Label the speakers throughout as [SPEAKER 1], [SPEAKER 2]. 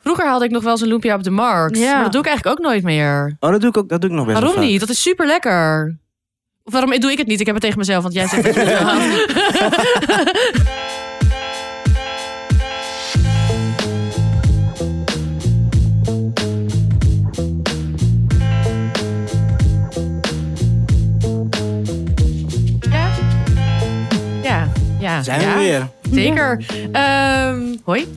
[SPEAKER 1] Vroeger haalde ik nog wel eens een lumpia op de markt.
[SPEAKER 2] Ja.
[SPEAKER 1] Maar dat doe ik eigenlijk ook nooit meer.
[SPEAKER 3] Oh, dat doe ik ook. Dat doe ik nog best wel
[SPEAKER 1] Waarom
[SPEAKER 3] vaak.
[SPEAKER 1] niet? Dat is super lekker. Of waarom doe ik het niet? Ik heb het tegen mezelf, want jij zegt dat je het wel haalt. Ja. Ja, ja.
[SPEAKER 3] Zijn
[SPEAKER 1] ja.
[SPEAKER 3] we weer?
[SPEAKER 1] Zeker. Ehm, hoi.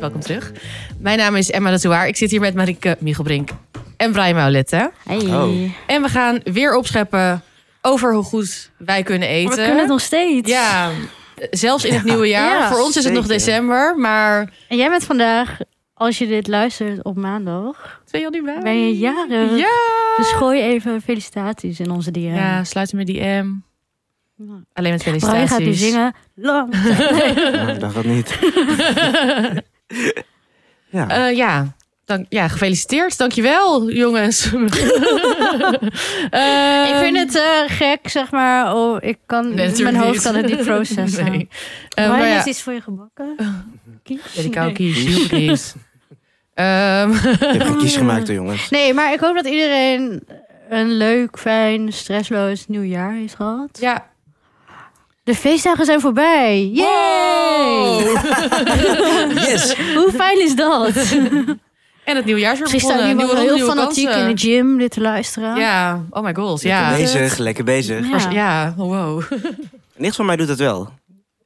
[SPEAKER 1] Welkom terug. Mijn naam is Emma Latouaar. Ik zit hier met Marike Michelbrink en Brian Maulette.
[SPEAKER 2] Hey.
[SPEAKER 3] Oh.
[SPEAKER 1] En we gaan weer opscheppen over hoe goed wij kunnen eten.
[SPEAKER 2] Maar we kunnen het nog steeds.
[SPEAKER 1] Ja, zelfs in het nieuwe jaar.
[SPEAKER 2] Ja,
[SPEAKER 1] Voor ons is het nog
[SPEAKER 3] zeker.
[SPEAKER 1] december, maar...
[SPEAKER 2] En jij bent vandaag, als je dit luistert op maandag,
[SPEAKER 1] Twee januari.
[SPEAKER 2] ben je jarig.
[SPEAKER 1] Ja!
[SPEAKER 2] Dus gooi even felicitaties in onze DM.
[SPEAKER 1] Ja, sluiten met die M. Alleen met felicitaties.
[SPEAKER 2] Brian gaat nu zingen. Lang.
[SPEAKER 3] Ja, Oh, ik dacht dat niet. ja.
[SPEAKER 1] Eh, ja. Dank, ja, gefeliciteerd. Dankjewel, jongens. Eh,
[SPEAKER 2] ik vind het eh, gek, zeg maar. Oh, ik kan,
[SPEAKER 1] Nee, Eh, natuurlijk
[SPEAKER 2] mijn hoofd
[SPEAKER 1] niet.
[SPEAKER 2] kan het niet processen.
[SPEAKER 1] Nee.
[SPEAKER 2] Nee.
[SPEAKER 1] Eh, maar ja,
[SPEAKER 2] is iets voor je gebakken? Kies?
[SPEAKER 1] weet ik
[SPEAKER 2] Nee.
[SPEAKER 1] ook niet. Hielp ik niet. Ehm,
[SPEAKER 3] Ik heb geen kies gemaakt, hoor, jongens.
[SPEAKER 2] Nee, maar ik hoop dat iedereen een leuk, fijn, stressloos nieuwjaar heeft gehad.
[SPEAKER 1] ja.
[SPEAKER 2] De feestdagen zijn voorbij. Yay!
[SPEAKER 1] Wow.
[SPEAKER 3] Yes!
[SPEAKER 2] Hoe fijn is dat?
[SPEAKER 1] En het nieuwjaar is weer
[SPEAKER 2] Misschien
[SPEAKER 1] begonnen.
[SPEAKER 2] staat
[SPEAKER 1] Nieuwe
[SPEAKER 2] nu wel
[SPEAKER 1] ronde,
[SPEAKER 2] heel
[SPEAKER 1] nieuwe
[SPEAKER 2] fanatiek
[SPEAKER 1] kansen.
[SPEAKER 2] in de gym dit te luisteren.
[SPEAKER 1] Ja, oh my god,
[SPEAKER 3] Lekker
[SPEAKER 1] ja.
[SPEAKER 3] bezig, lekker bezig.
[SPEAKER 2] Ja.
[SPEAKER 1] Ja, ja Oh, wow.
[SPEAKER 3] Niks van mij doet dat wel.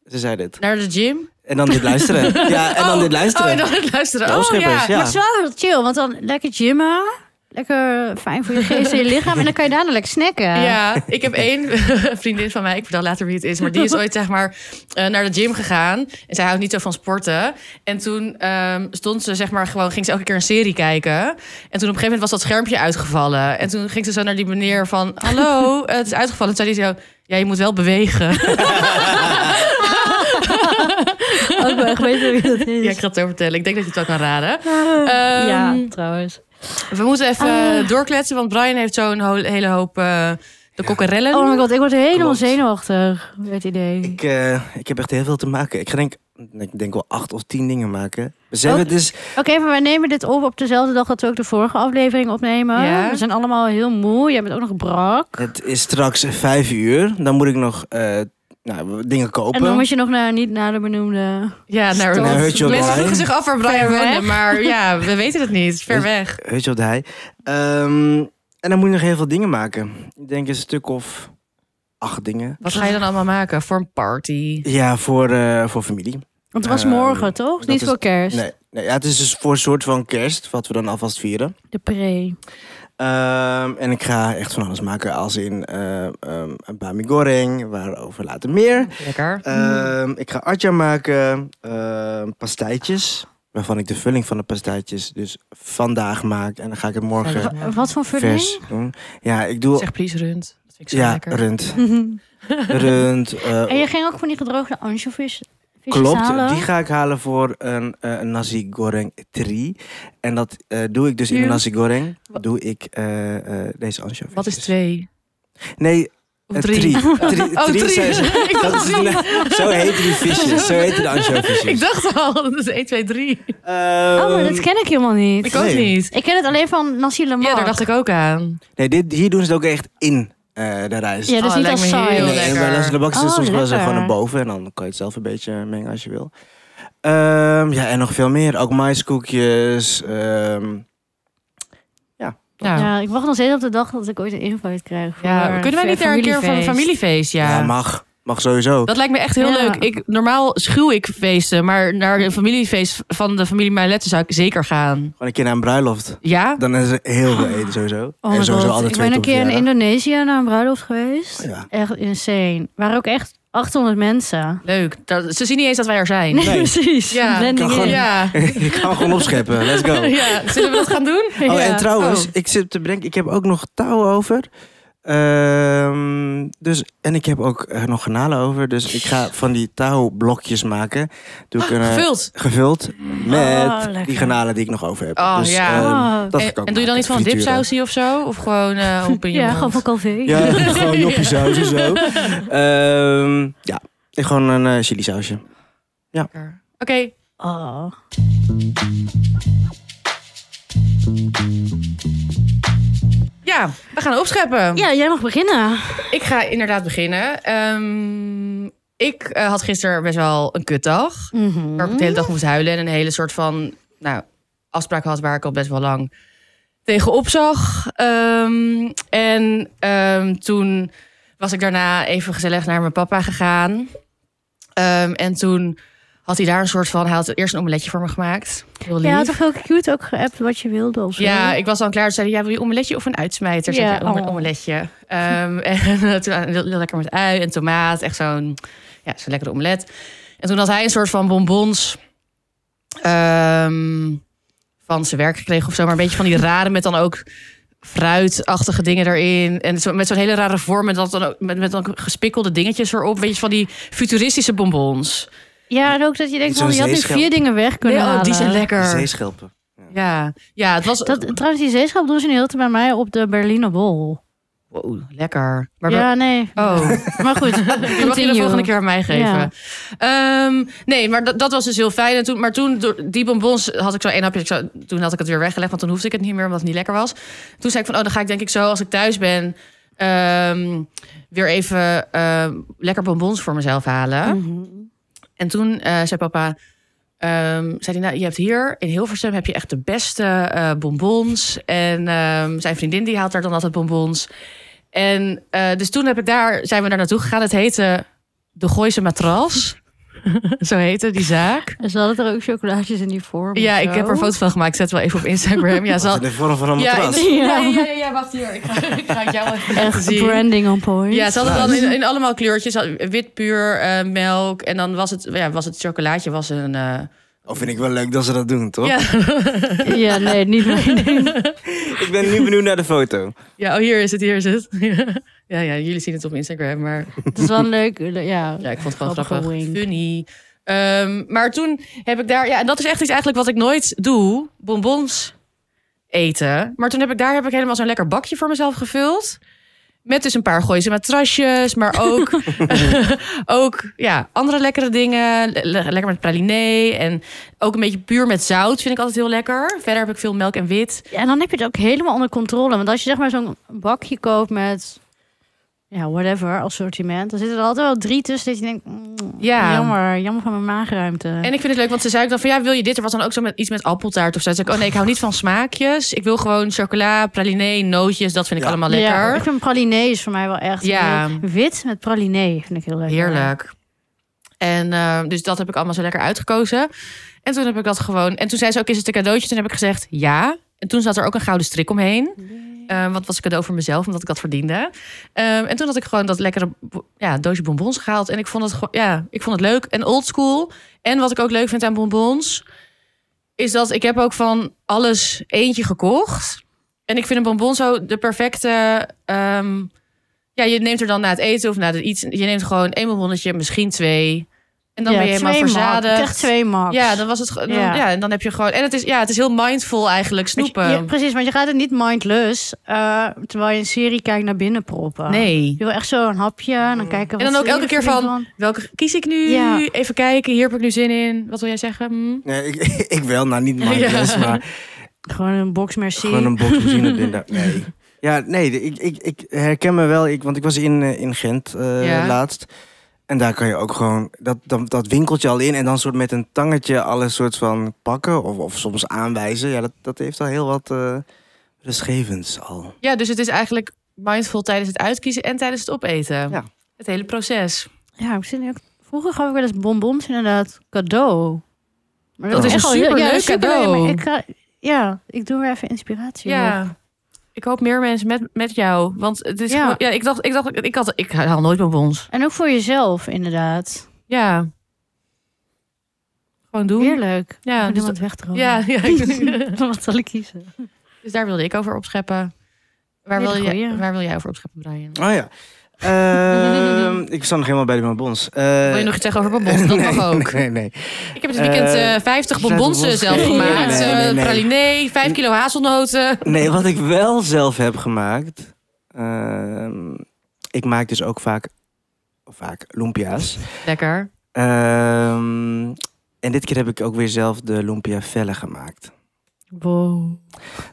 [SPEAKER 3] Ze zei dit.
[SPEAKER 1] Naar de gym.
[SPEAKER 3] En dan dit luisteren. Ja, en dan dit
[SPEAKER 1] Oh,
[SPEAKER 3] luisteren.
[SPEAKER 1] en dan het luisteren.
[SPEAKER 3] De
[SPEAKER 1] Oh ja.
[SPEAKER 3] opscheppers,
[SPEAKER 1] ja.
[SPEAKER 2] Maar het is wel heel chill, want dan lekker gymmen. Lekker fijn voor je geest en je lichaam. En dan kan je daarna lekker snacken.
[SPEAKER 1] ik heb één vriendin van mij, ik vertel later wie het is, maar die is ooit zeg maar eh, naar de gym gegaan. En zij houdt niet zo van sporten. En toen ehm, stond ze zeg maar gewoon, ging ze elke keer een serie kijken. En toen op een gegeven moment was dat schermpje uitgevallen. En toen ging ze zo naar die meneer van, hallo, eh, het is uitgevallen. Toen zei hij zo, ja, je moet wel bewegen.
[SPEAKER 2] Ook wel echt weten wie dat is.
[SPEAKER 1] Ja, ik ga het zo vertellen. Ik denk dat je het wel kan raden. Ehm,
[SPEAKER 2] Ah, ja, Ah. trouwens.
[SPEAKER 1] We moeten even eh, doorkletsen, want Brian heeft zo'n ho- hele hoop eh, de kokkerellen.
[SPEAKER 2] Oh my god, ik word helemaal
[SPEAKER 3] Klopt.
[SPEAKER 2] zenuwachtig bij het idee.
[SPEAKER 3] Ik, eh, ik heb echt heel veel te maken. Ik ga denk, ik denk wel acht of tien dingen maken. We zijn
[SPEAKER 2] Oh.
[SPEAKER 3] het dus...
[SPEAKER 2] Oké, maar wij nemen dit op op dezelfde dag dat we ook de vorige aflevering opnemen.
[SPEAKER 1] Ja.
[SPEAKER 2] We zijn allemaal heel moe. Jij bent ook nog brak.
[SPEAKER 3] Het is straks vijf uur. Dan moet ik nog eh, nou,
[SPEAKER 2] En
[SPEAKER 3] dingen
[SPEAKER 2] dan
[SPEAKER 3] kopen.
[SPEAKER 2] moet je nog naar, niet naar de benoemde...
[SPEAKER 1] Ja, nou,
[SPEAKER 2] Stop.
[SPEAKER 3] Nou, heet
[SPEAKER 1] mensen
[SPEAKER 3] je op de
[SPEAKER 1] vroegen
[SPEAKER 3] lijn.
[SPEAKER 1] zich af waar Brian
[SPEAKER 2] Ver weg.
[SPEAKER 1] woonde, maar ja, we weten het niet. Ver
[SPEAKER 3] Is-
[SPEAKER 1] weg.
[SPEAKER 3] Weet je wat hij? Ehm, en dan moet je nog heel veel dingen maken. Ik denk een stuk of acht dingen.
[SPEAKER 1] Wat ga je dan allemaal maken voor een party?
[SPEAKER 3] Ja, voor, eh, voor familie.
[SPEAKER 2] Want het was
[SPEAKER 3] Ehm,
[SPEAKER 2] morgen, toch?
[SPEAKER 3] dat
[SPEAKER 2] Niet
[SPEAKER 3] is-
[SPEAKER 2] voor kerst.
[SPEAKER 3] Nee, nee ja, het is dus voor een soort van kerst, wat we dan alvast vieren.
[SPEAKER 2] De pre.
[SPEAKER 3] Ehm, en ik ga echt van alles maken, als in ehm ehm, een bami goreng, waarover later meer.
[SPEAKER 1] Lekker.
[SPEAKER 3] Ehm, ik ga atja maken, ehm pastijtjes, waarvan ik de vulling van de pastijtjes dus vandaag maak. En dan ga ik het morgen
[SPEAKER 1] Ja.
[SPEAKER 2] Wa- Wat voor
[SPEAKER 3] vers
[SPEAKER 2] vulling?
[SPEAKER 3] doen. Ja, ik doe...
[SPEAKER 1] Zeg please rund. Dat vind ik zo
[SPEAKER 3] ja,
[SPEAKER 1] lekker.
[SPEAKER 3] rund. Rund. eh,
[SPEAKER 2] En je ging ook van die gedroogde ansjovis visjes
[SPEAKER 3] Klopt,
[SPEAKER 2] halen?
[SPEAKER 3] die ga ik halen voor een, eh, een nasi goreng 3. En dat eh, doe ik dus in de
[SPEAKER 1] Ja.
[SPEAKER 3] nasi goreng. Doe ik eh, eh, deze anchovies.
[SPEAKER 1] Wat is twee?
[SPEAKER 3] Nee,
[SPEAKER 1] Of
[SPEAKER 3] eh,
[SPEAKER 1] drie?
[SPEAKER 3] Drie, drie,
[SPEAKER 1] Oh,
[SPEAKER 3] drie
[SPEAKER 1] drie.
[SPEAKER 3] zijn ze.
[SPEAKER 1] ik
[SPEAKER 3] Dat
[SPEAKER 1] dacht
[SPEAKER 3] is,
[SPEAKER 2] Oh
[SPEAKER 1] drie.
[SPEAKER 3] nou, zo heten die visjes. Zo heten de anchovies. Ehm,
[SPEAKER 1] Ik dacht al, dat is 1, 2, 3.
[SPEAKER 2] Oh, maar dat ken ik helemaal niet.
[SPEAKER 1] Ik
[SPEAKER 2] Ik,
[SPEAKER 1] ook
[SPEAKER 3] Nee.
[SPEAKER 1] niet.
[SPEAKER 2] ken het alleen van nasi lemak.
[SPEAKER 1] Ja, daar dacht ik ook aan.
[SPEAKER 3] Nee, dit, hier doen ze het ook echt in eh, de rijst.
[SPEAKER 2] Ja, dat is
[SPEAKER 1] Oh,
[SPEAKER 2] niet
[SPEAKER 1] lijkt
[SPEAKER 2] als
[SPEAKER 1] me
[SPEAKER 2] saai.
[SPEAKER 1] heel
[SPEAKER 3] nee, en bij Las
[SPEAKER 1] lekker.
[SPEAKER 3] de Bak is het
[SPEAKER 2] Oh,
[SPEAKER 3] soms wel eens
[SPEAKER 2] lekker.
[SPEAKER 3] gewoon naar boven. En dan kan je het zelf een beetje mengen als je wil. Ehm, ja, en nog veel meer. Ook maiskoekjes. ehm,
[SPEAKER 1] Ja.
[SPEAKER 2] Ja, ik wacht nog steeds op de dag dat ik ooit een invite krijg.
[SPEAKER 1] Nou, Ja,
[SPEAKER 2] voor
[SPEAKER 1] kunnen wij niet daar een keer van een familiefeest?
[SPEAKER 3] ja, mag. Mag sowieso.
[SPEAKER 1] Dat lijkt me echt heel
[SPEAKER 2] Ja.
[SPEAKER 1] leuk. Ik, normaal schuw ik feesten, maar naar een familiefeest van de familie Mailetten zou ik zeker gaan.
[SPEAKER 3] Gewoon een keer naar een bruiloft.
[SPEAKER 1] Ja?
[SPEAKER 3] Dan is er heel veel eten sowieso.
[SPEAKER 2] Oh
[SPEAKER 3] en
[SPEAKER 2] my
[SPEAKER 3] sowieso
[SPEAKER 2] god,
[SPEAKER 3] altijd
[SPEAKER 2] ik
[SPEAKER 3] twee
[SPEAKER 2] ben een keer in
[SPEAKER 3] topverjaardagen.
[SPEAKER 2] Indonesië naar een bruiloft geweest.
[SPEAKER 3] Ja.
[SPEAKER 2] Echt insane. Waren ook echt 800 mensen.
[SPEAKER 1] Leuk. Dat, ze zien niet eens dat wij er zijn.
[SPEAKER 2] Nee, precies.
[SPEAKER 1] Ja.
[SPEAKER 2] Blending
[SPEAKER 3] Kan
[SPEAKER 2] in.
[SPEAKER 3] gewoon-
[SPEAKER 1] Ja.
[SPEAKER 3] Ik ga hem gewoon opscheppen. Let's go.
[SPEAKER 1] ja. Zullen we dat gaan doen?
[SPEAKER 3] Oh,
[SPEAKER 2] Ja.
[SPEAKER 3] en trouwens,
[SPEAKER 1] Oh.
[SPEAKER 3] ik zit te bedenken, ik heb ook nog touw over. Ehm, dus, en ik heb ook eh, nog granalen over. Dus ik ga van die touwblokjes maken. Doe ik een, eh,
[SPEAKER 1] Ah, Gevuld.
[SPEAKER 3] gevuld
[SPEAKER 2] Oh,
[SPEAKER 3] met
[SPEAKER 2] lekker.
[SPEAKER 3] die granalen die ik nog over heb.
[SPEAKER 1] Oh,
[SPEAKER 3] dus,
[SPEAKER 1] ja.
[SPEAKER 3] ehm,
[SPEAKER 2] Oh.
[SPEAKER 3] dat ga
[SPEAKER 1] En,
[SPEAKER 3] ik ook
[SPEAKER 1] en doe je dan
[SPEAKER 3] maken,
[SPEAKER 1] iets van een
[SPEAKER 3] frituren.
[SPEAKER 1] dipsausie of zo? Of gewoon eh op in je
[SPEAKER 2] Ja,
[SPEAKER 1] mond?
[SPEAKER 2] gewoon van Calvé.
[SPEAKER 3] Ja, gewoon joppie saus en zo. Ehm, ja, ik gewoon een eh chili sausje.
[SPEAKER 1] Oké.
[SPEAKER 2] Oh.
[SPEAKER 1] Ja, we gaan opscheppen.
[SPEAKER 2] Ja, jij mag beginnen.
[SPEAKER 1] Ik ga inderdaad beginnen. Ehm, ik eh, had gisteren best wel een kutdag. Waar ik de hele dag moest huilen en een hele soort van nou, afspraak had waar ik al best wel lang tegenop zag. Ehm, en ehm, toen was ik daarna even gezellig naar mijn papa gegaan. Ehm, en toen had hij daar een soort van, hij had eerst een omeletje voor me gemaakt. Heel
[SPEAKER 2] Ja,
[SPEAKER 1] lief.
[SPEAKER 2] toch ook cute ook geappt wat je wilde of zo.
[SPEAKER 1] Ja, ik was al klaar. Toen zei hij, ja, wil je omeletje of een uitsmijter? Zei
[SPEAKER 2] Ja,
[SPEAKER 1] ik, ja, om-
[SPEAKER 2] oh.
[SPEAKER 1] omeletje. Ehm, en eh, toen heel, heel lekker met ui en tomaat. Echt zo'n ja, zo'n lekkere omelet. En toen had hij een soort van bonbons ehm, van zijn werk gekregen of zo. Maar een beetje van die rare met dan ook fruitachtige dingen erin. En zo, met zo'n hele rare vorm. En dat dan ook, met, met dan gespikkelde dingetjes erop. Weet je, van die futuristische bonbons.
[SPEAKER 2] ja, en ook dat je denkt,
[SPEAKER 3] Zo'n
[SPEAKER 2] man, je had nu
[SPEAKER 3] zeeschelp.
[SPEAKER 2] vier dingen weg kunnen
[SPEAKER 1] Nee, oh,
[SPEAKER 2] halen.
[SPEAKER 1] die zijn lekker.
[SPEAKER 3] Zeeschelpen.
[SPEAKER 1] Ja, ja, het was...
[SPEAKER 2] Dat, trouwens, die zeeschap doen ze nu heel te bij mij op de Berliner Wol.
[SPEAKER 1] Wow, lekker. Maar
[SPEAKER 2] ja, nee.
[SPEAKER 1] Oh.
[SPEAKER 2] Maar goed,
[SPEAKER 1] Dat mag je de
[SPEAKER 2] continue.
[SPEAKER 1] volgende keer aan mij geven.
[SPEAKER 2] Ja.
[SPEAKER 1] Ehm, nee, maar dat, dat was dus heel fijn. En toen, maar toen, door die bonbons had ik zo één hapje. Ik zou- toen had ik het weer weggelegd, want toen hoefde ik het niet meer, omdat het niet lekker was. Toen zei ik van, oh, dan ga ik denk ik zo, als ik thuis ben... ehm, weer even ehm, lekker bonbons voor mezelf halen.
[SPEAKER 2] Mhm.
[SPEAKER 1] En toen eh, zei papa, ehm, zei hij, nou, je hebt hier in Hilversum heb je echt de beste eh, bonbons. En ehm, zijn vriendin die haalt daar dan altijd bonbons. En eh, dus toen heb ik daar, zijn we daar naartoe gegaan. Het heette de Gooise Matras. Zo heette die zaak.
[SPEAKER 2] En ze hadden er ook chocolaatjes in die vorm. of
[SPEAKER 1] Ja, ik
[SPEAKER 2] zo.
[SPEAKER 1] heb er een foto van gemaakt. Zet wel even op Instagram. Ja,
[SPEAKER 3] Dat
[SPEAKER 1] zal...
[SPEAKER 3] is in de vorm van een
[SPEAKER 1] ja,
[SPEAKER 3] matras.
[SPEAKER 1] in-
[SPEAKER 2] Ja.
[SPEAKER 1] Nee, ja, ja, ja, wacht hier. Ik ga, ik ga het jou even laten
[SPEAKER 2] Echt
[SPEAKER 1] zien.
[SPEAKER 2] branding on point.
[SPEAKER 1] Ja, ze hadden
[SPEAKER 3] Nice.
[SPEAKER 1] dan in, in allemaal kleurtjes. Ze hadden Wit puur, eh, melk. En dan was het, ja, was het chocolaatje was een... eh,
[SPEAKER 3] Oh, vind ik wel leuk dat ze dat doen, toch?
[SPEAKER 1] Ja.
[SPEAKER 2] Ja, nee, niet mijn ding.
[SPEAKER 3] Ik ben nu benieuwd naar de foto.
[SPEAKER 1] Ja, oh, hier is het, hier is het. ja, ja, jullie zien het op Instagram, maar
[SPEAKER 2] Het is wel een leuk. Ja,
[SPEAKER 1] ja, ik vond het gewoon
[SPEAKER 2] Grappige
[SPEAKER 1] grappig.
[SPEAKER 2] wink.
[SPEAKER 1] Funny. Ehm, maar toen heb ik daar, ja, en dat is echt iets eigenlijk wat ik nooit doe, bonbons eten. Maar toen heb ik daar heb ik helemaal zo'n lekker bakje voor mezelf gevuld. Met dus een paar gooise matrasjes, maar ook, ook ja, andere lekkere dingen. Le- le- lekker met praliné en ook een beetje puur met zout vind ik altijd heel lekker. Verder heb ik veel melk en wit.
[SPEAKER 2] Ja, en dan heb je het ook helemaal onder controle. Want als je zeg maar zo'n bakje koopt met. Ja, whatever, assortiment. Dan zitten er altijd wel drie tussen dat je denkt... mm,
[SPEAKER 1] Ja.
[SPEAKER 2] Jammer, jammer van mijn maagruimte.
[SPEAKER 1] En ik vind het leuk, want ze zei ook dan van ja, wil je dit? Er was dan ook zo met iets met appeltaart of zo. Toen zei ik, oh nee, ik hou niet van smaakjes. Ik wil gewoon chocola, praliné, nootjes. Dat vind ik
[SPEAKER 3] Ja.
[SPEAKER 1] allemaal
[SPEAKER 2] Ja, ik
[SPEAKER 1] lekker.
[SPEAKER 2] vind praliné is voor mij wel echt...
[SPEAKER 1] Ja.
[SPEAKER 2] heel- Wit met praliné vind ik heel leuk.
[SPEAKER 1] Heerlijk. En eh, dus dat heb ik allemaal zo lekker uitgekozen. En toen heb ik dat gewoon. En toen zei ze ook, is het een cadeautje? Toen heb ik gezegd ja. En toen zat er ook een gouden strik omheen. Eh, wat was een cadeau voor mezelf, omdat ik dat verdiende. Ehm, en toen had ik gewoon dat lekkere bo- ja, doosje bonbons gehaald. En ik vond het gewoon, ja, ik vond het leuk en oldschool. En wat ik ook leuk vind aan bonbons, is dat ik heb ook van alles eentje gekocht. En ik vind een bonbon zo de perfecte. ehm, ja, je neemt er dan na het eten of na het iets. Je neemt gewoon één bonbonnetje, misschien twee. En dan
[SPEAKER 2] Ja,
[SPEAKER 1] ben je helemaal
[SPEAKER 2] twee max.
[SPEAKER 1] verzadigd.
[SPEAKER 2] Echt twee max.
[SPEAKER 1] Ja, dan was het ge- dan, ja.
[SPEAKER 2] Ja.
[SPEAKER 1] en dan heb je gewoon en het is ja, het is heel mindful eigenlijk
[SPEAKER 2] Want je-
[SPEAKER 1] snoepen.
[SPEAKER 2] ja, precies, want je gaat het niet mindless... eh, terwijl je een serie kijkt naar binnen proppen.
[SPEAKER 1] Nee.
[SPEAKER 2] Je wil echt zo een hapje en dan kijken...
[SPEAKER 1] En
[SPEAKER 2] wat
[SPEAKER 1] dan ook
[SPEAKER 2] zie je
[SPEAKER 1] elke keer
[SPEAKER 2] voor
[SPEAKER 1] van,
[SPEAKER 2] die
[SPEAKER 1] welke kies ik nu?
[SPEAKER 2] Ja.
[SPEAKER 1] Even kijken, hier heb ik nu zin in. Wat wil jij zeggen? Hm?
[SPEAKER 3] Nee, ik, ik wel, nou niet mindless,
[SPEAKER 1] Ja.
[SPEAKER 3] maar
[SPEAKER 2] Gewoon een box merci.
[SPEAKER 3] Gewoon een box benzine erin. daar- Nee. Ja, nee, de- ik, ik, ik herken me wel. Ik, want ik was in, eh, in Gent eh,
[SPEAKER 1] Ja.
[SPEAKER 3] laatst. En daar kan je ook gewoon dat, dat, dat winkeltje al in. En dan soort met een tangetje alles soort van pakken. Of, of soms aanwijzen. Ja, dat, dat heeft al heel wat eh rustgevends al.
[SPEAKER 1] Ja, dus het is eigenlijk mindful tijdens het uitkiezen en tijdens het opeten.
[SPEAKER 3] Ja.
[SPEAKER 1] Het hele proces.
[SPEAKER 2] Ja, ik zit nu ook... Vroeger gaf ik wel eens bonbons inderdaad cadeau. Maar
[SPEAKER 1] Dat
[SPEAKER 3] is
[SPEAKER 2] echt
[SPEAKER 1] een
[SPEAKER 2] al heel-
[SPEAKER 1] Oh. superleuk
[SPEAKER 2] dat is
[SPEAKER 1] cadeau.
[SPEAKER 2] maar Ik ga, ja, ik doe weer even inspiratie. op.
[SPEAKER 1] Ja. Ik hoop meer mensen met, met jou. Want het is
[SPEAKER 2] Ja.
[SPEAKER 1] gewoon- ja, ik dacht, ik dacht, ik had, ik haal nooit bonbons.
[SPEAKER 2] En ook voor jezelf inderdaad.
[SPEAKER 1] Ja. Gewoon doen.
[SPEAKER 2] Heerlijk.
[SPEAKER 1] Ja,
[SPEAKER 2] Ja,
[SPEAKER 1] dus,
[SPEAKER 2] dus het weg te romen.
[SPEAKER 1] ja, ja.
[SPEAKER 2] Wat zal ik kiezen?
[SPEAKER 1] dus daar wilde ik over opscheppen. Waar,
[SPEAKER 2] Hele
[SPEAKER 1] wil, je,
[SPEAKER 2] goeie.
[SPEAKER 1] waar wil jij over opscheppen, Brian?
[SPEAKER 3] Oh ja. Ehm, ik sta nog helemaal bij de bonbons. Eh,
[SPEAKER 1] wil je nog iets zeggen over bonbons? Dat
[SPEAKER 3] nee,
[SPEAKER 1] mag ook.
[SPEAKER 3] Nee, nee.
[SPEAKER 1] Ik heb dit weekend
[SPEAKER 3] Eh,
[SPEAKER 1] eh 50
[SPEAKER 3] bonbons
[SPEAKER 1] bonbonsen zelf
[SPEAKER 3] gekregen.
[SPEAKER 1] gemaakt.
[SPEAKER 3] Nee, nee, nee,
[SPEAKER 1] eh,
[SPEAKER 3] nee.
[SPEAKER 1] Praliné, 5 kilo hazelnoten.
[SPEAKER 3] Nee, wat ik wel zelf heb gemaakt. ehm, ik maak dus ook vaak, vaak lumpia's.
[SPEAKER 1] Lekker.
[SPEAKER 3] Ehm, en dit keer heb ik ook weer zelf de lumpia vellen gemaakt.
[SPEAKER 2] Wow.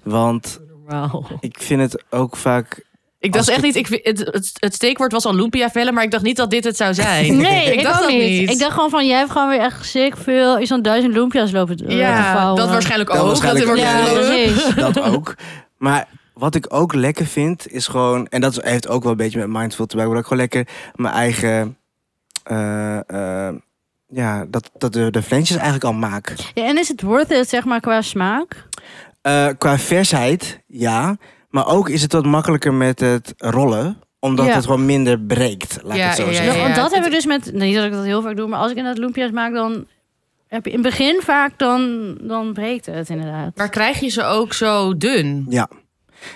[SPEAKER 3] Want
[SPEAKER 2] Wauw.
[SPEAKER 3] Ik vind het ook vaak...
[SPEAKER 1] Ik dacht
[SPEAKER 3] Als
[SPEAKER 1] echt niet, ik, vind- het, het, het steekwoord was Olympiavellen, maar ik dacht niet dat dit het zou zijn.
[SPEAKER 2] Nee, ik,
[SPEAKER 1] dacht
[SPEAKER 2] ook
[SPEAKER 1] dat
[SPEAKER 2] niet. Ik dacht gewoon van, jij hebt gewoon weer echt sick veel... iets van duizend loempia's lopen te- te
[SPEAKER 1] ja,
[SPEAKER 2] vouwen.
[SPEAKER 1] dat waarschijnlijk
[SPEAKER 3] Dat
[SPEAKER 1] ook.
[SPEAKER 3] waarschijnlijk
[SPEAKER 1] dat
[SPEAKER 3] ook.
[SPEAKER 1] wordt-
[SPEAKER 2] Ja, precies.
[SPEAKER 3] dat ook. Maar wat ik ook lekker vind, is gewoon... En dat heeft ook wel een beetje met mindful te maken. Maar dat ik gewoon lekker mijn eigen... eh, eh, ja, dat, dat de, de flensjes eigenlijk al maak.
[SPEAKER 2] Ja, en is het worth it, zeg maar, qua smaak?
[SPEAKER 3] Eh, qua versheid, ja. Maar ook is het wat makkelijker met het rollen. Omdat
[SPEAKER 2] Ja.
[SPEAKER 3] het gewoon minder breekt, laat ik
[SPEAKER 1] Ja,
[SPEAKER 3] het zo
[SPEAKER 1] ja,
[SPEAKER 3] zeggen.
[SPEAKER 2] Ja, want dat
[SPEAKER 1] het-
[SPEAKER 2] hebben we dus met... nou, niet dat ik dat heel vaak doe, maar als ik inderdaad loempia's maak, dan... Heb je in het begin vaak, dan, dan breekt het inderdaad.
[SPEAKER 1] Maar krijg je ze ook zo dun?
[SPEAKER 3] Ja,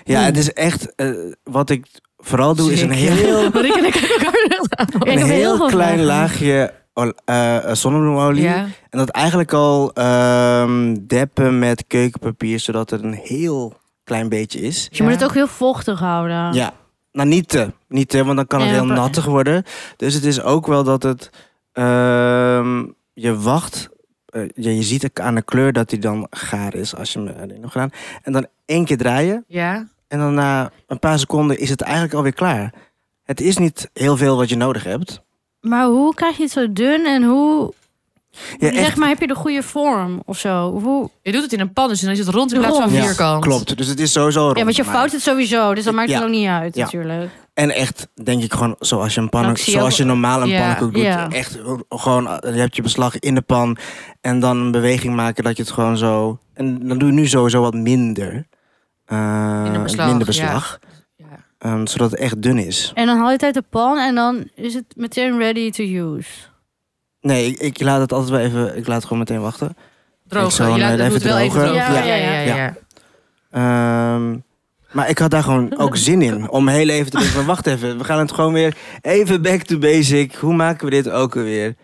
[SPEAKER 3] ja het is echt... eh, wat ik vooral doe, is een
[SPEAKER 1] Zeker.
[SPEAKER 3] heel,
[SPEAKER 1] Marie en ik kijken elkaar aan.
[SPEAKER 2] Ik
[SPEAKER 3] een
[SPEAKER 2] heb heel
[SPEAKER 3] heel
[SPEAKER 2] veel
[SPEAKER 3] klein
[SPEAKER 2] vragen.
[SPEAKER 3] laagje ol- eh, eh, zonnebloemolie.
[SPEAKER 1] Ja.
[SPEAKER 3] En dat eigenlijk al ehm, deppen met keukenpapier, zodat het een heel klein beetje is.
[SPEAKER 2] Dus je moet het ook heel vochtig houden.
[SPEAKER 3] Ja. Nou, niet te. Niet te, want dan kan het
[SPEAKER 2] Ja,
[SPEAKER 3] heel
[SPEAKER 2] pa-
[SPEAKER 3] nattig worden. Dus het is ook wel dat het... ehm, je wacht... eh, je, je ziet ook aan de kleur dat hij dan gaar is, als je hem erin hebt gedaan. En dan één keer draaien.
[SPEAKER 1] Ja.
[SPEAKER 3] En dan na een paar seconden is het eigenlijk alweer klaar. Het is niet heel veel wat je nodig hebt.
[SPEAKER 2] Maar hoe krijg je het zo dun en hoe...
[SPEAKER 3] Ja, echt.
[SPEAKER 2] Zeg maar, heb je de goede vorm of zo? Hoe...
[SPEAKER 1] Je doet het in een pan, dus dan is het rond in plaats van
[SPEAKER 2] Rond.
[SPEAKER 3] Ja,
[SPEAKER 1] vierkant.
[SPEAKER 3] Klopt, dus het is sowieso rond
[SPEAKER 2] Ja, want je
[SPEAKER 3] maar-
[SPEAKER 2] fout het sowieso, dus dat maakt het
[SPEAKER 3] Ja.
[SPEAKER 2] ook niet uit
[SPEAKER 3] Ja.
[SPEAKER 2] natuurlijk.
[SPEAKER 3] En echt, denk ik gewoon, zoals je, een
[SPEAKER 2] Nou,
[SPEAKER 3] pannen,
[SPEAKER 2] ik zie
[SPEAKER 3] zoals je
[SPEAKER 2] ook-
[SPEAKER 3] normaal een
[SPEAKER 1] Ja,
[SPEAKER 3] pannenkoek doet.
[SPEAKER 2] ja.
[SPEAKER 3] Echt eh, gewoon, eh, je hebt je beslag in de pan. En dan een beweging maken dat je het gewoon zo... En dan doe je nu sowieso wat minder. eh,
[SPEAKER 1] Minder beslag,
[SPEAKER 3] minder beslag,
[SPEAKER 1] Ja.
[SPEAKER 3] ehm, zodat het echt dun is.
[SPEAKER 2] En dan haal je het uit de pan en dan is het meteen ready to use.
[SPEAKER 3] Nee, ik, ik laat het altijd wel even... Ik laat het gewoon meteen wachten. Ik
[SPEAKER 1] Drogen.
[SPEAKER 3] zal
[SPEAKER 1] je
[SPEAKER 3] hem
[SPEAKER 1] laat het
[SPEAKER 3] even
[SPEAKER 1] doet wel even
[SPEAKER 3] drogen.
[SPEAKER 1] drogen.
[SPEAKER 2] Ja, ja,
[SPEAKER 3] ja. Ehm, maar ik had daar gewoon ook zin in. Om heel even te denken van, wacht even. We gaan het gewoon weer even back to basic. Hoe maken we dit ook alweer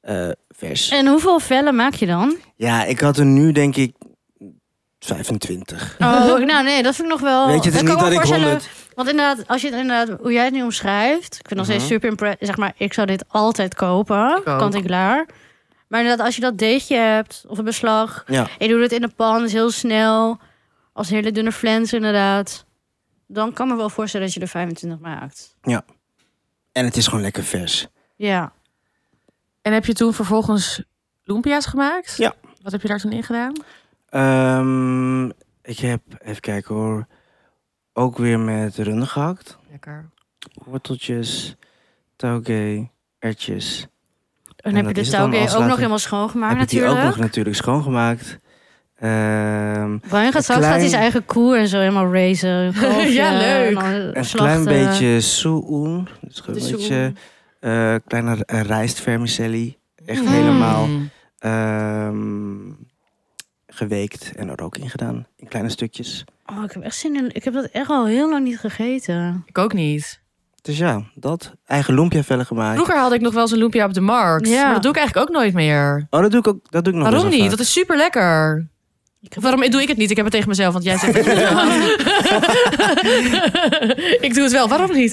[SPEAKER 3] eh, vers?
[SPEAKER 2] En hoeveel vellen maak je dan?
[SPEAKER 3] Ja, ik had er nu denk ik 25.
[SPEAKER 2] Oh, nou nee, dat vind ik nog wel...
[SPEAKER 3] Weet je, het
[SPEAKER 2] kan
[SPEAKER 3] is niet
[SPEAKER 2] me
[SPEAKER 3] dat ik
[SPEAKER 2] voorstellen-
[SPEAKER 3] 100...
[SPEAKER 2] Want inderdaad, als je het inderdaad, hoe jij het nu omschrijft, ik vind nog steeds
[SPEAKER 3] Mhm.
[SPEAKER 2] super impress. Zeg maar, ik zou dit altijd kopen,
[SPEAKER 1] ook.
[SPEAKER 2] kant en klaar. Maar inderdaad, als je dat deegje hebt of een beslag,
[SPEAKER 3] Ja,
[SPEAKER 2] en je doet het in de pan, is heel snel, als hele dunne flens inderdaad, dan kan ik me wel voorstellen dat je er 25 maakt.
[SPEAKER 3] en het is gewoon lekker vers.
[SPEAKER 2] Ja.
[SPEAKER 1] En heb je toen vervolgens lumpia's gemaakt?
[SPEAKER 3] Ja.
[SPEAKER 1] Wat heb je daar toen in gedaan?
[SPEAKER 3] Ehm, ik heb, even kijken hoor, ook weer met runnen gehakt.
[SPEAKER 1] Lekker.
[SPEAKER 3] Worteltjes, tauge, ertjes.
[SPEAKER 2] En,
[SPEAKER 3] En
[SPEAKER 2] heb
[SPEAKER 3] dat
[SPEAKER 2] je
[SPEAKER 3] is
[SPEAKER 2] de
[SPEAKER 3] het dan
[SPEAKER 2] touwkeer ook
[SPEAKER 3] als
[SPEAKER 2] nog
[SPEAKER 3] later-
[SPEAKER 2] helemaal schoongemaakt
[SPEAKER 3] heb ik die ook nog
[SPEAKER 2] natuurlijk.
[SPEAKER 3] natuurlijk schoongemaakt. Ehm,
[SPEAKER 2] Brian
[SPEAKER 3] Een
[SPEAKER 2] gaat straks gaat
[SPEAKER 3] klein-
[SPEAKER 2] hij zijn eigen koe en zo helemaal racen. kalfje,
[SPEAKER 1] Ja, leuk.
[SPEAKER 2] en dan
[SPEAKER 3] een
[SPEAKER 2] slachten.
[SPEAKER 3] klein beetje soeoen. Dus gewoon
[SPEAKER 1] De
[SPEAKER 3] een beetje
[SPEAKER 1] soeoen.
[SPEAKER 3] eh kleine eh, rijstvermicelli. Echt helemaal
[SPEAKER 1] Mm.
[SPEAKER 3] ehm, geweekt en er ook in gedaan. In kleine stukjes.
[SPEAKER 2] Oh, ik heb echt zin in. Ik heb dat echt al heel lang niet gegeten.
[SPEAKER 1] Ik ook niet.
[SPEAKER 3] Dus ja, dat. Eigen loempiavellen gemaakt.
[SPEAKER 1] Vroeger had ik nog wel eens een lumpia op de markt.
[SPEAKER 2] Ja.
[SPEAKER 1] Maar dat doe ik eigenlijk ook nooit meer.
[SPEAKER 3] Oh, dat doe ik ook. Dat doe ik nog
[SPEAKER 1] Waarom
[SPEAKER 3] best wel
[SPEAKER 1] niet?
[SPEAKER 3] vaak.
[SPEAKER 1] Dat is super lekker. Waarom doe ik het niet? Ik heb het tegen mezelf, want jij zegt het Ik doe het wel, waarom niet?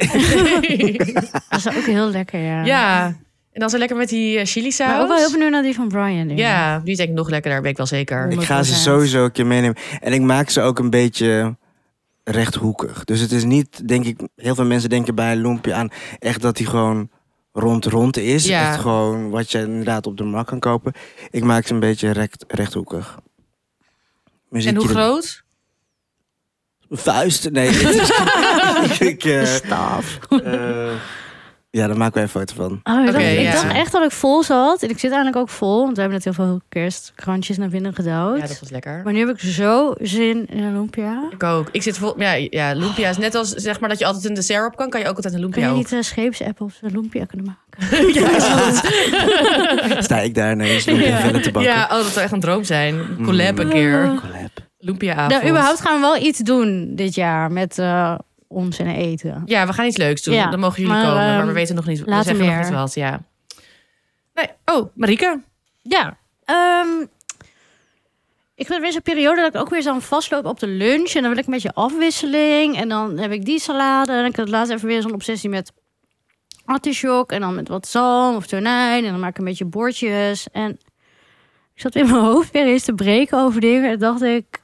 [SPEAKER 2] Dat is ook heel lekker, ja.
[SPEAKER 1] ja, en dan zo lekker met die eh, chili saus.
[SPEAKER 2] Maar ook wel heel benieuwd naar die van Brian. nu.
[SPEAKER 1] Ja, die is denk ik nog lekkerder, weet ik wel zeker.
[SPEAKER 2] Ja.
[SPEAKER 3] Ik ga ze
[SPEAKER 2] 100%.
[SPEAKER 3] sowieso een keer meenemen. En ik maak ze ook een beetje rechthoekig. Dus het is niet, denk ik, heel veel mensen denken bij een loempje aan echt dat hij gewoon rond-rond is.
[SPEAKER 1] Ja.
[SPEAKER 3] Echt gewoon wat je inderdaad op de markt kan kopen. Ik maak ze een beetje recht, rechthoekig.
[SPEAKER 1] En hoe
[SPEAKER 3] Muziekje-
[SPEAKER 1] groot?
[SPEAKER 3] Vuist? Nee. het is- ik,
[SPEAKER 2] De
[SPEAKER 3] eh,
[SPEAKER 2] staf.
[SPEAKER 3] eh, ja, daar maken wij een foto van.
[SPEAKER 2] Oh, ik, dacht,
[SPEAKER 1] Oké,
[SPEAKER 2] ik
[SPEAKER 1] ja.
[SPEAKER 2] dacht echt dat ik vol zat. En ik zit eigenlijk ook vol. Want we hebben net heel veel kerstkrantjes naar binnen gedouwd.
[SPEAKER 1] Ja, dat was lekker.
[SPEAKER 2] Maar nu heb ik zo zin in een lumpia.
[SPEAKER 1] Ik ook. Ik zit vol. Ja, ja lumpia is net als zeg maar dat je altijd een dessert op kan, kan je ook altijd een
[SPEAKER 2] Kun je
[SPEAKER 1] lumpia op.
[SPEAKER 2] niet een scheepsappel of een lumpia kunnen maken?
[SPEAKER 3] Sta ik daar ineens loempiavellen te bakken. Mm.
[SPEAKER 1] Ja, oh, dat zou echt een droom zijn. Collab een keer.
[SPEAKER 3] Collab.
[SPEAKER 1] Lumpia avond.
[SPEAKER 2] Nou, überhaupt gaan we wel iets doen dit jaar met eh, ons en eten.
[SPEAKER 1] Ja, we gaan iets leuks doen.
[SPEAKER 2] Ja,
[SPEAKER 1] Dan mogen jullie
[SPEAKER 2] maar,
[SPEAKER 1] komen, maar we
[SPEAKER 2] ehm,
[SPEAKER 1] weten nog niet. We
[SPEAKER 2] later
[SPEAKER 1] zeggen nog
[SPEAKER 2] meer.
[SPEAKER 1] niet wat, ja. Nee. Oh, Marike.
[SPEAKER 2] Ja. Ehm, ik ben weer zo'n periode dat ik ook weer zo aan vastloop op de lunch. En dan wil ik een beetje afwisseling. En dan heb ik die salade. En ik had laatst even weer zo'n obsessie met artichok. En dan met wat zalm of tonijn. En dan maak ik een beetje bordjes. En ik zat in mijn hoofd weer eens te breken over dingen. En dacht ik,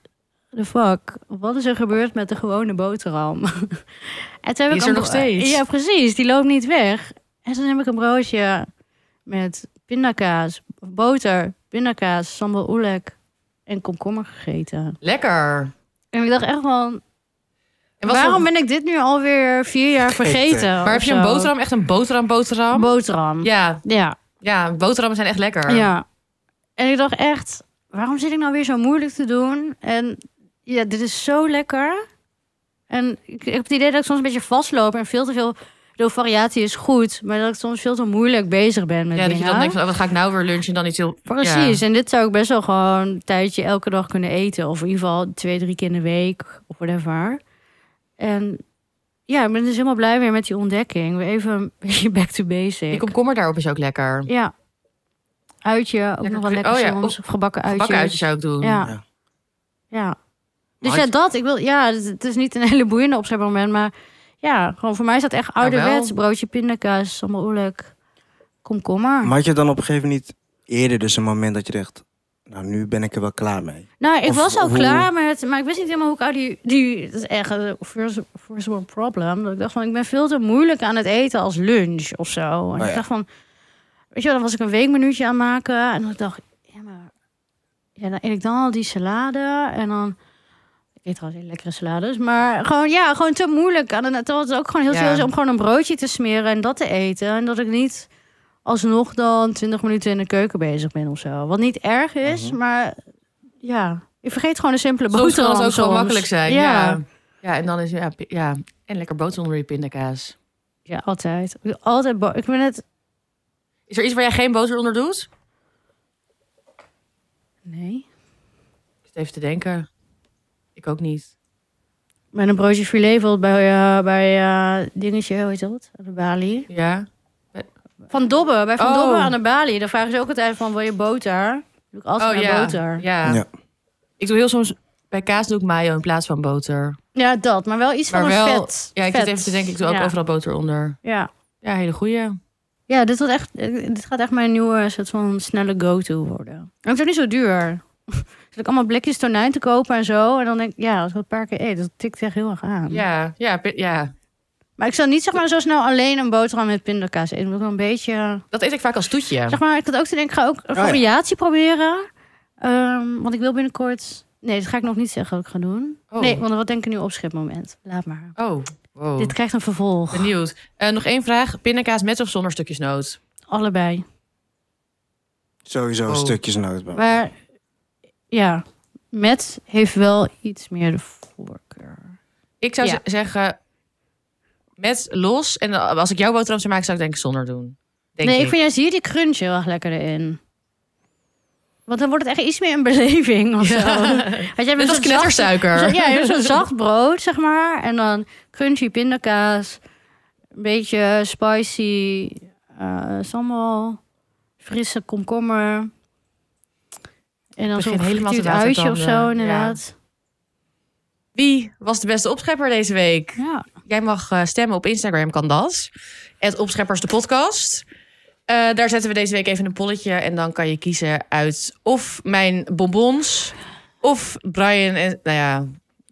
[SPEAKER 2] the fuck? Wat is er gebeurd met de gewone boterham? en toen heb
[SPEAKER 1] Die
[SPEAKER 2] ik
[SPEAKER 1] is
[SPEAKER 2] een
[SPEAKER 1] er nog
[SPEAKER 2] bro-
[SPEAKER 1] steeds.
[SPEAKER 2] Ja, precies. Die loopt niet weg. En toen heb ik een broodje met pindakaas, boter, pindakaas, sambal oelek en komkommer gegeten.
[SPEAKER 1] Lekker.
[SPEAKER 2] En ik dacht echt van,
[SPEAKER 1] En wat
[SPEAKER 2] waarom
[SPEAKER 1] voor-
[SPEAKER 2] ben ik dit nu alweer vier jaar
[SPEAKER 3] Vergeten.
[SPEAKER 2] vergeten?
[SPEAKER 1] maar heb
[SPEAKER 2] of
[SPEAKER 1] je een
[SPEAKER 2] zo?
[SPEAKER 1] boterham? Echt een boterham boterham?
[SPEAKER 2] Een boterham.
[SPEAKER 1] ja,
[SPEAKER 2] Ja.
[SPEAKER 1] ja, boterhammen zijn echt lekker.
[SPEAKER 2] Ja. En ik dacht echt, waarom zit ik nou weer zo moeilijk te doen? En ja, dit is zo lekker. En ik, ik heb het idee dat ik soms een beetje vastloop en veel te veel... De variatie is goed, maar dat ik soms veel te moeilijk bezig ben met
[SPEAKER 1] Ja, dat je
[SPEAKER 2] dingen.
[SPEAKER 1] dan denkt van, oh, wat ga ik nou weer lunchen? En dan iets heel...
[SPEAKER 2] Precies, en dit zou ik best wel gewoon een tijdje elke dag kunnen eten. Of in ieder geval twee, drie keer in de week of whatever. En ja, ik ben dus helemaal blij weer met die ontdekking. Weer even een beetje back to basic.
[SPEAKER 1] Die komkommer daarop is ook lekker.
[SPEAKER 2] Ja. Uitje, ook
[SPEAKER 1] Lekker
[SPEAKER 2] nog wel
[SPEAKER 1] kru-
[SPEAKER 2] lekker
[SPEAKER 1] oh ja,
[SPEAKER 2] soms. Of gebakken uitjes.
[SPEAKER 1] Bakken uitje zou ik doen.
[SPEAKER 2] Ja.
[SPEAKER 3] Ja.
[SPEAKER 2] ja. Dus ja,
[SPEAKER 3] Maar had
[SPEAKER 2] dat. Ik wil, ja, het- het is niet een hele boeiende opzet op het moment. Maar ja, gewoon voor mij is dat echt
[SPEAKER 1] Nou, wel.
[SPEAKER 2] ouderwets. broodje pindakaas, sambal oelek, komkommer.
[SPEAKER 3] Maar had je dan op een gegeven moment niet eerder dus een moment dat je dacht... Nou, nu ben ik er wel klaar mee.
[SPEAKER 2] nou, ik
[SPEAKER 3] of-
[SPEAKER 2] was al
[SPEAKER 3] of hoe-
[SPEAKER 2] klaar met... Maar ik wist niet helemaal hoe ik al die... die dat is echt eh, een first, first world problem. Dat ik dacht van, ik ben veel te moeilijk aan het eten als lunch of zo. En
[SPEAKER 3] Oh ja.
[SPEAKER 2] ik dacht van... Weet je wel, dan was ik een weekmenuutje aan het maken. En dan dacht ik, ja maar... Ja, dan eet ik dan al die salade. En dan... Ik eet trouwens hele lekkere salades. Maar gewoon, ja, gewoon te moeilijk. En dan, terwijl het ook gewoon heel
[SPEAKER 1] Ja.
[SPEAKER 2] chill is om gewoon een broodje te smeren en dat te eten. En dat ik niet alsnog dan 20 minuten in de keuken bezig ben of zo. Wat niet erg is,
[SPEAKER 3] Mhm.
[SPEAKER 2] maar ja. Ik vergeet gewoon een simpele
[SPEAKER 1] Soms kan
[SPEAKER 2] boterham
[SPEAKER 1] het ook
[SPEAKER 2] soms.
[SPEAKER 1] gewoon makkelijk zijn. Ja.
[SPEAKER 2] ja.
[SPEAKER 1] ja. en dan is ja, pi- ja. En lekker boter onder je pindakaas.
[SPEAKER 2] Ja, altijd. Ik doe Altijd bo- ik ben net...
[SPEAKER 1] Is er iets waar jij geen boter onder doet?
[SPEAKER 2] Nee.
[SPEAKER 1] Ik zit even te denken. Ik ook niet.
[SPEAKER 2] Met een broodje filet bijvoorbeeld bij, eh, bij eh, dingetje, hoe heet dat? Aan de balie.
[SPEAKER 1] Ja.
[SPEAKER 2] Van Dobbe, bij Van
[SPEAKER 1] Oh.
[SPEAKER 2] Dobbe aan de balie. Dan vragen ze ook altijd van, wil je boter? Dan doe ik altijd maar
[SPEAKER 1] Oh, ja.
[SPEAKER 2] boter.
[SPEAKER 1] Ja.
[SPEAKER 3] Ja.
[SPEAKER 1] Ik doe heel soms bij kaas doe ik mayo in plaats van boter.
[SPEAKER 2] Ja, dat. Maar wel iets
[SPEAKER 1] Maar
[SPEAKER 2] van een
[SPEAKER 1] wel-
[SPEAKER 2] vet.
[SPEAKER 1] Ja, ik
[SPEAKER 2] vet.
[SPEAKER 1] zit even te denken. Ik doe ook
[SPEAKER 2] ja.
[SPEAKER 1] overal boter onder.
[SPEAKER 2] Ja.
[SPEAKER 1] Ja, hele goeie.
[SPEAKER 2] Ja, dit, wordt echt, eh, dit gaat echt mijn nieuwe soort van snelle go-to worden. En het is ook niet zo duur. Zit ik allemaal blikjes tonijn te kopen en zo. En dan denk ik, ja, als ik dat een paar keer eet, dat tikt echt heel erg aan.
[SPEAKER 1] Ja, ja, pi- ja.
[SPEAKER 2] Maar ik zou niet zeg maar zo snel alleen een boterham met pindakaas eten. Ik wil wel een beetje...
[SPEAKER 1] Dat eet ik vaak als toetje.
[SPEAKER 2] Zeg maar, ik had ook te denken, ik ga
[SPEAKER 1] Oh
[SPEAKER 2] ook een
[SPEAKER 3] ja.
[SPEAKER 2] variatie proberen. Ehm, want ik wil binnenkort... Nee, dat ga ik nog niet zeggen wat ik ga doen.
[SPEAKER 1] Oh.
[SPEAKER 2] Nee, want wat denk ik nu opschipmoment? Laat maar.
[SPEAKER 1] Oh, wow.
[SPEAKER 2] Dit krijgt een vervolg.
[SPEAKER 1] Benieuwd. Eh, nog één vraag. Pindakaas met of zonder stukjes noot?
[SPEAKER 2] Allebei.
[SPEAKER 3] Sowieso
[SPEAKER 1] Oh.
[SPEAKER 3] stukjes nootbaar.
[SPEAKER 2] Maar ja, met heeft wel iets meer de voorkeur.
[SPEAKER 1] Ik zou
[SPEAKER 2] Ja.
[SPEAKER 1] z- zeggen met los. En eh, als ik jouw boterham zou maken, zou ik denk ik zonder doen. Denk
[SPEAKER 2] nee, ik.
[SPEAKER 1] ik.
[SPEAKER 2] vind juist hier die crunch heel erg lekker in. Want dan wordt het echt iets meer een beleving of zo. Weet je,
[SPEAKER 1] Net als knettersuiker.
[SPEAKER 2] ja, je hebt zo'n zacht brood, zeg maar. En dan crunchy pindakaas. Een beetje spicy eh sambal. Frisse komkommer. En dan
[SPEAKER 1] Begin
[SPEAKER 2] zo'n
[SPEAKER 1] helemaal te
[SPEAKER 2] gefrituurd uitje of
[SPEAKER 1] watertanden.
[SPEAKER 2] zo,
[SPEAKER 1] Ja.
[SPEAKER 2] inderdaad.
[SPEAKER 1] Wie was de beste opschepper deze week?
[SPEAKER 2] Ja.
[SPEAKER 1] Jij mag eh, stemmen op Instagram, kan dat. Het Opscheppers de podcast. Eh, daar zetten we deze week even een polletje. En dan kan je kiezen uit of mijn bonbons... of Brian en... Nou ja,